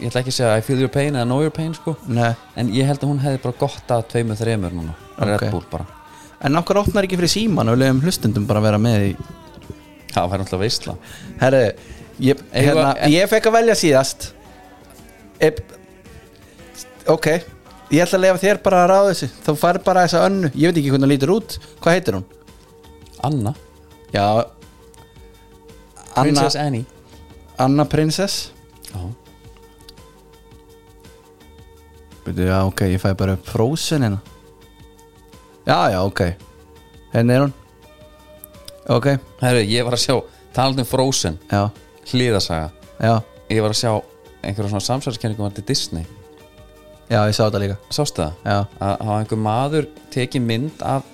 Speaker 2: Ég ætla ekki að segja I feel your pain eða know your pain sko
Speaker 3: nei
Speaker 2: En ég held að hún hefði bara gott að tveimur þreimur núna Red
Speaker 3: Ok.
Speaker 2: Bull bara
Speaker 3: en okkur opnar ekki fyrir síman og lögum hlustundum bara að vera með í
Speaker 2: Það var náttúrulega veistla
Speaker 3: Herru, ég, hérna,
Speaker 2: Eigum við-
Speaker 3: ég fekk að velja síðast Ep, Ok Ég ætla að lefa þér bara að ráða þessu Þú fær bara þessa önnu, ég veit ekki hvernig hún lítur út Hvað heitir hún?
Speaker 2: Anna,
Speaker 3: Já Anna,
Speaker 2: Princess Annie
Speaker 3: Anna Princess
Speaker 2: Já,
Speaker 3: Byrju, Já, ok, ég fæ bara upp Frozen hérna Já, já, ok Hérna er hún Ok,
Speaker 2: herru, ég var að sjá talandi um Frozen,
Speaker 3: já,
Speaker 2: hliðasaga
Speaker 3: já
Speaker 2: ég var að sjá einhverja svona samsvæðiskenningum var til Disney,
Speaker 3: Já, ég sá þetta líka
Speaker 2: sástu það?
Speaker 3: Já,
Speaker 2: að hafa einhver maður tekið mynd af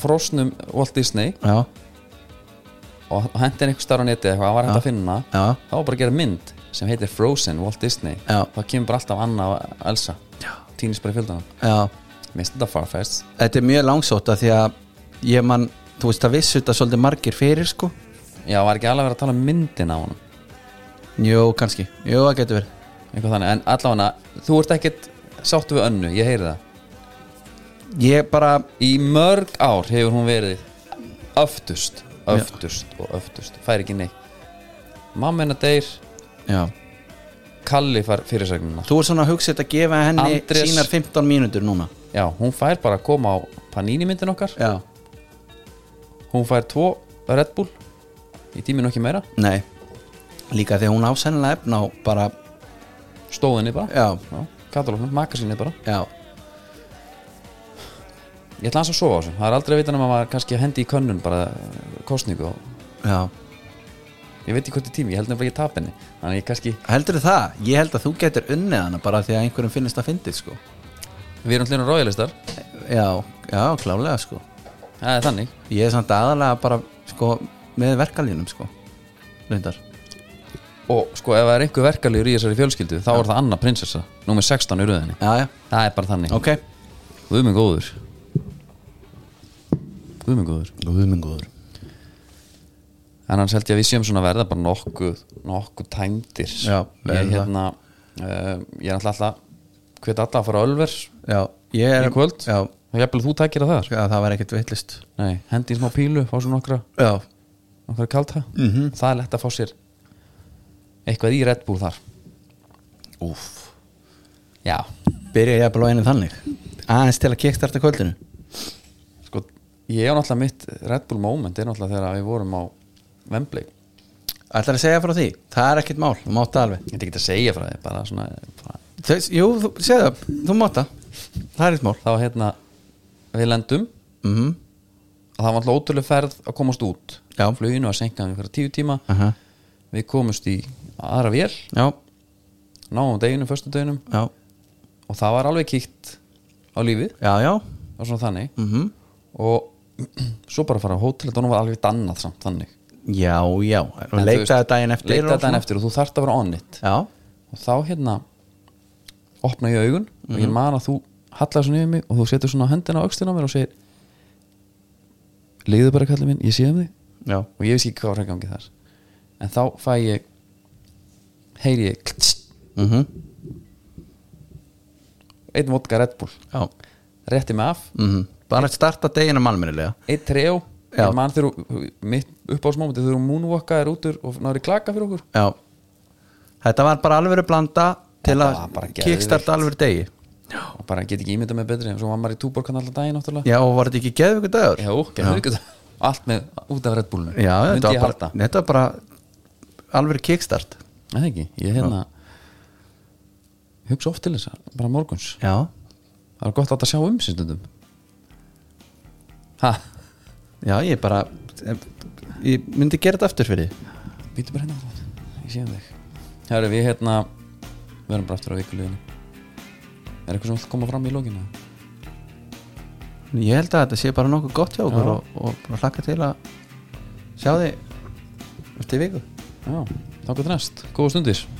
Speaker 2: frosnum Walt Disney
Speaker 3: já,
Speaker 2: og hendi henni einhver starf á neti eða eitthvað, hann var hægt
Speaker 3: Já.
Speaker 2: að finna
Speaker 3: já
Speaker 2: það var bara að gera mynd sem heitir Frozen Walt Disney
Speaker 3: Já.
Speaker 2: þá kemur bara alltaf Anna og Elsa týnist bara í fjöldanum
Speaker 3: já,
Speaker 2: Mér finnst þetta farfæst
Speaker 3: þetta er mjög langsótt af því að ég man, þú veist það vissu þetta svolítið margir fyrir sko
Speaker 2: Já, var ekki alveg verið að tala um myndin á honum
Speaker 3: Jú, kannski, jú, það getur verið
Speaker 2: eitthvað þannig, en allavega þú ert ekkert sáttu við önnu, ég heyri það
Speaker 3: Ég bara,
Speaker 2: í mörg ár hefur hún verið öftust, öftust og öftust, fær ekki neitt mamma hennar deyr,
Speaker 3: já
Speaker 2: Kalli fær fyrirsögnina
Speaker 3: Þú er svona að hugsa þetta að gefa henni
Speaker 2: Andrés-
Speaker 3: sínar 15 mínútur núna
Speaker 2: já, hún fær bara að koma á panini myndin okkar,
Speaker 3: Já,
Speaker 2: hún fær tvo Red Bull í tíminu ekki meira,
Speaker 3: nei Líka því að hún ásennilega efna á bara,
Speaker 2: stóðinni bara
Speaker 3: já,
Speaker 2: já, katalófnum, makasínið bara
Speaker 3: já
Speaker 2: ég ætla hans að sofa á þessu, það er aldrei að vita nema að maður kannski hendi í könnun bara eh, kosningu og
Speaker 3: Já,
Speaker 2: ég veit ekki hvort er tími, ég held nefnilega ekki tap henni þannig að ég kannski,
Speaker 3: heldur það? Ég held að þú getur unnið hana bara því að einhverjum finnist það fyndið sko
Speaker 2: við erum hljóna ráðilistar
Speaker 3: Já, já, klálega sko
Speaker 2: það er þannig
Speaker 3: Ég er samt aðalega bara sko með verkalínum sko Lundar
Speaker 2: og sko ef það er einhver verkalegur í þessari fjölskyldu þá er það Anna prinsessa, númer 16 í röðinni
Speaker 3: Já, já,
Speaker 2: það er bara þannig,
Speaker 3: ok
Speaker 2: guð minn góður guð minn góður
Speaker 3: Guðmenguður
Speaker 2: en hans held ég að við séum svona að verða bara nokkuð nokkuð tæmdir
Speaker 3: Já, við erum
Speaker 2: ég, hérna, uh, ég er alltaf alltaf hvet alltaf að fara á Ölver
Speaker 3: Já, ég er
Speaker 2: í kvöld
Speaker 3: Já, sko,
Speaker 2: og jafnvel þú tækir að það
Speaker 3: að það var ekkert veitlist
Speaker 2: Nei, hendi í smá pílu, fá svo nokkra
Speaker 3: Já,
Speaker 2: nokkra kalta,
Speaker 3: Mhm.
Speaker 2: það er lett að fá sér eitthvað í Red Bull þar
Speaker 3: úf
Speaker 2: já,
Speaker 3: Byrja ég að blá einu þannig Aðeins til að kickstarta kvöldinu
Speaker 2: sko, ég er náttúrulega mitt Red Bull moment er náttúrulega þegar við vorum á Wembley,
Speaker 3: Ætlar að segja frá því? Það er ekkert mál, þú máta alveg
Speaker 2: ég ætti ekki að segja frá því bara svona, bara,
Speaker 3: Þess, Jú, þú, segðu það, þú máta Það er eitt mál
Speaker 2: þá hérna við lendum, Mhm.
Speaker 3: mm -hmm.
Speaker 2: það var alltaf ótrúlega ferð að komast út,
Speaker 3: Já.
Speaker 2: fluginu að senka um einhverja tíu tíma,
Speaker 3: uh
Speaker 2: við komumst í aðra vél,
Speaker 3: Já,
Speaker 2: náðum deginum, föstu deginum
Speaker 3: já,
Speaker 2: og það var alveg kíkt á lífið,
Speaker 3: já, já
Speaker 2: það var svona þannig
Speaker 3: mm
Speaker 2: og svo bara að fara á hótel þetta var alveg dannað samt þannig
Speaker 3: Já, já, og
Speaker 2: En þú
Speaker 3: leitaði
Speaker 2: veist,
Speaker 3: daginn eftir
Speaker 2: leitaði
Speaker 3: og
Speaker 2: daginn
Speaker 3: svona.
Speaker 2: eftir og þú þarft að vera on it
Speaker 3: Já,
Speaker 2: og þá hérna opna ég augun og
Speaker 3: Mhm.
Speaker 2: ég man að þú hallar svona yfir mig og þú setur svona höndina á öxtina á mér og segir leiðu bara kallið minn, ég sé um þig
Speaker 3: já,
Speaker 2: og ég veist ekki hvað var að gangi þar en þá fæ ég heyri ég klts,
Speaker 3: mm
Speaker 2: einn vodka Red Bull
Speaker 3: já
Speaker 2: rétti mig af,
Speaker 3: mm Bara að starta deginum almennilega
Speaker 2: einn trejó
Speaker 3: Já.
Speaker 2: ég man þegar þú- mitt uppáðsmómenti þegar þú moonwalkaðir út úr og náður í klaka fyrir okkur
Speaker 3: Já Þetta var bara alveg blanda til
Speaker 2: Þetta var
Speaker 3: að
Speaker 2: bara geðveikt.
Speaker 3: kickstarta alveg degi
Speaker 2: og bara get ekki ímyndað mig betri en svo var maður í túborkan alltaf daginn náttúrulega
Speaker 3: Já, og var þetta ekki geðvöku dagur?
Speaker 2: Já, gerðu ekki það. Allt með út af Red Bullinu
Speaker 3: Já, þetta
Speaker 2: Myndi
Speaker 3: var,
Speaker 2: ég
Speaker 3: bara,
Speaker 2: halda
Speaker 3: þetta var bara alveg kickstart
Speaker 2: Nei, það ekki, ég hérna Hugsa oft til þess að bara morguns
Speaker 3: Já,
Speaker 2: Það er gott að þetta sjá um sér stundum Ha,
Speaker 3: já, ég bara eh, ég myndi gera þetta aftur fyrir þig.
Speaker 2: býtu bara hérna á það Ég sé um þig Herru, við hérna Við erum bara aftur á vikuleginu Er eitthvað sem vill koma fram í lókinu?
Speaker 3: Ég held að þetta sé bara nokkuð gott hjá okkur
Speaker 2: Já.
Speaker 3: og, og bara hlakka til að sjá þig eftir viku
Speaker 2: Já, þá gott næst Góða stundir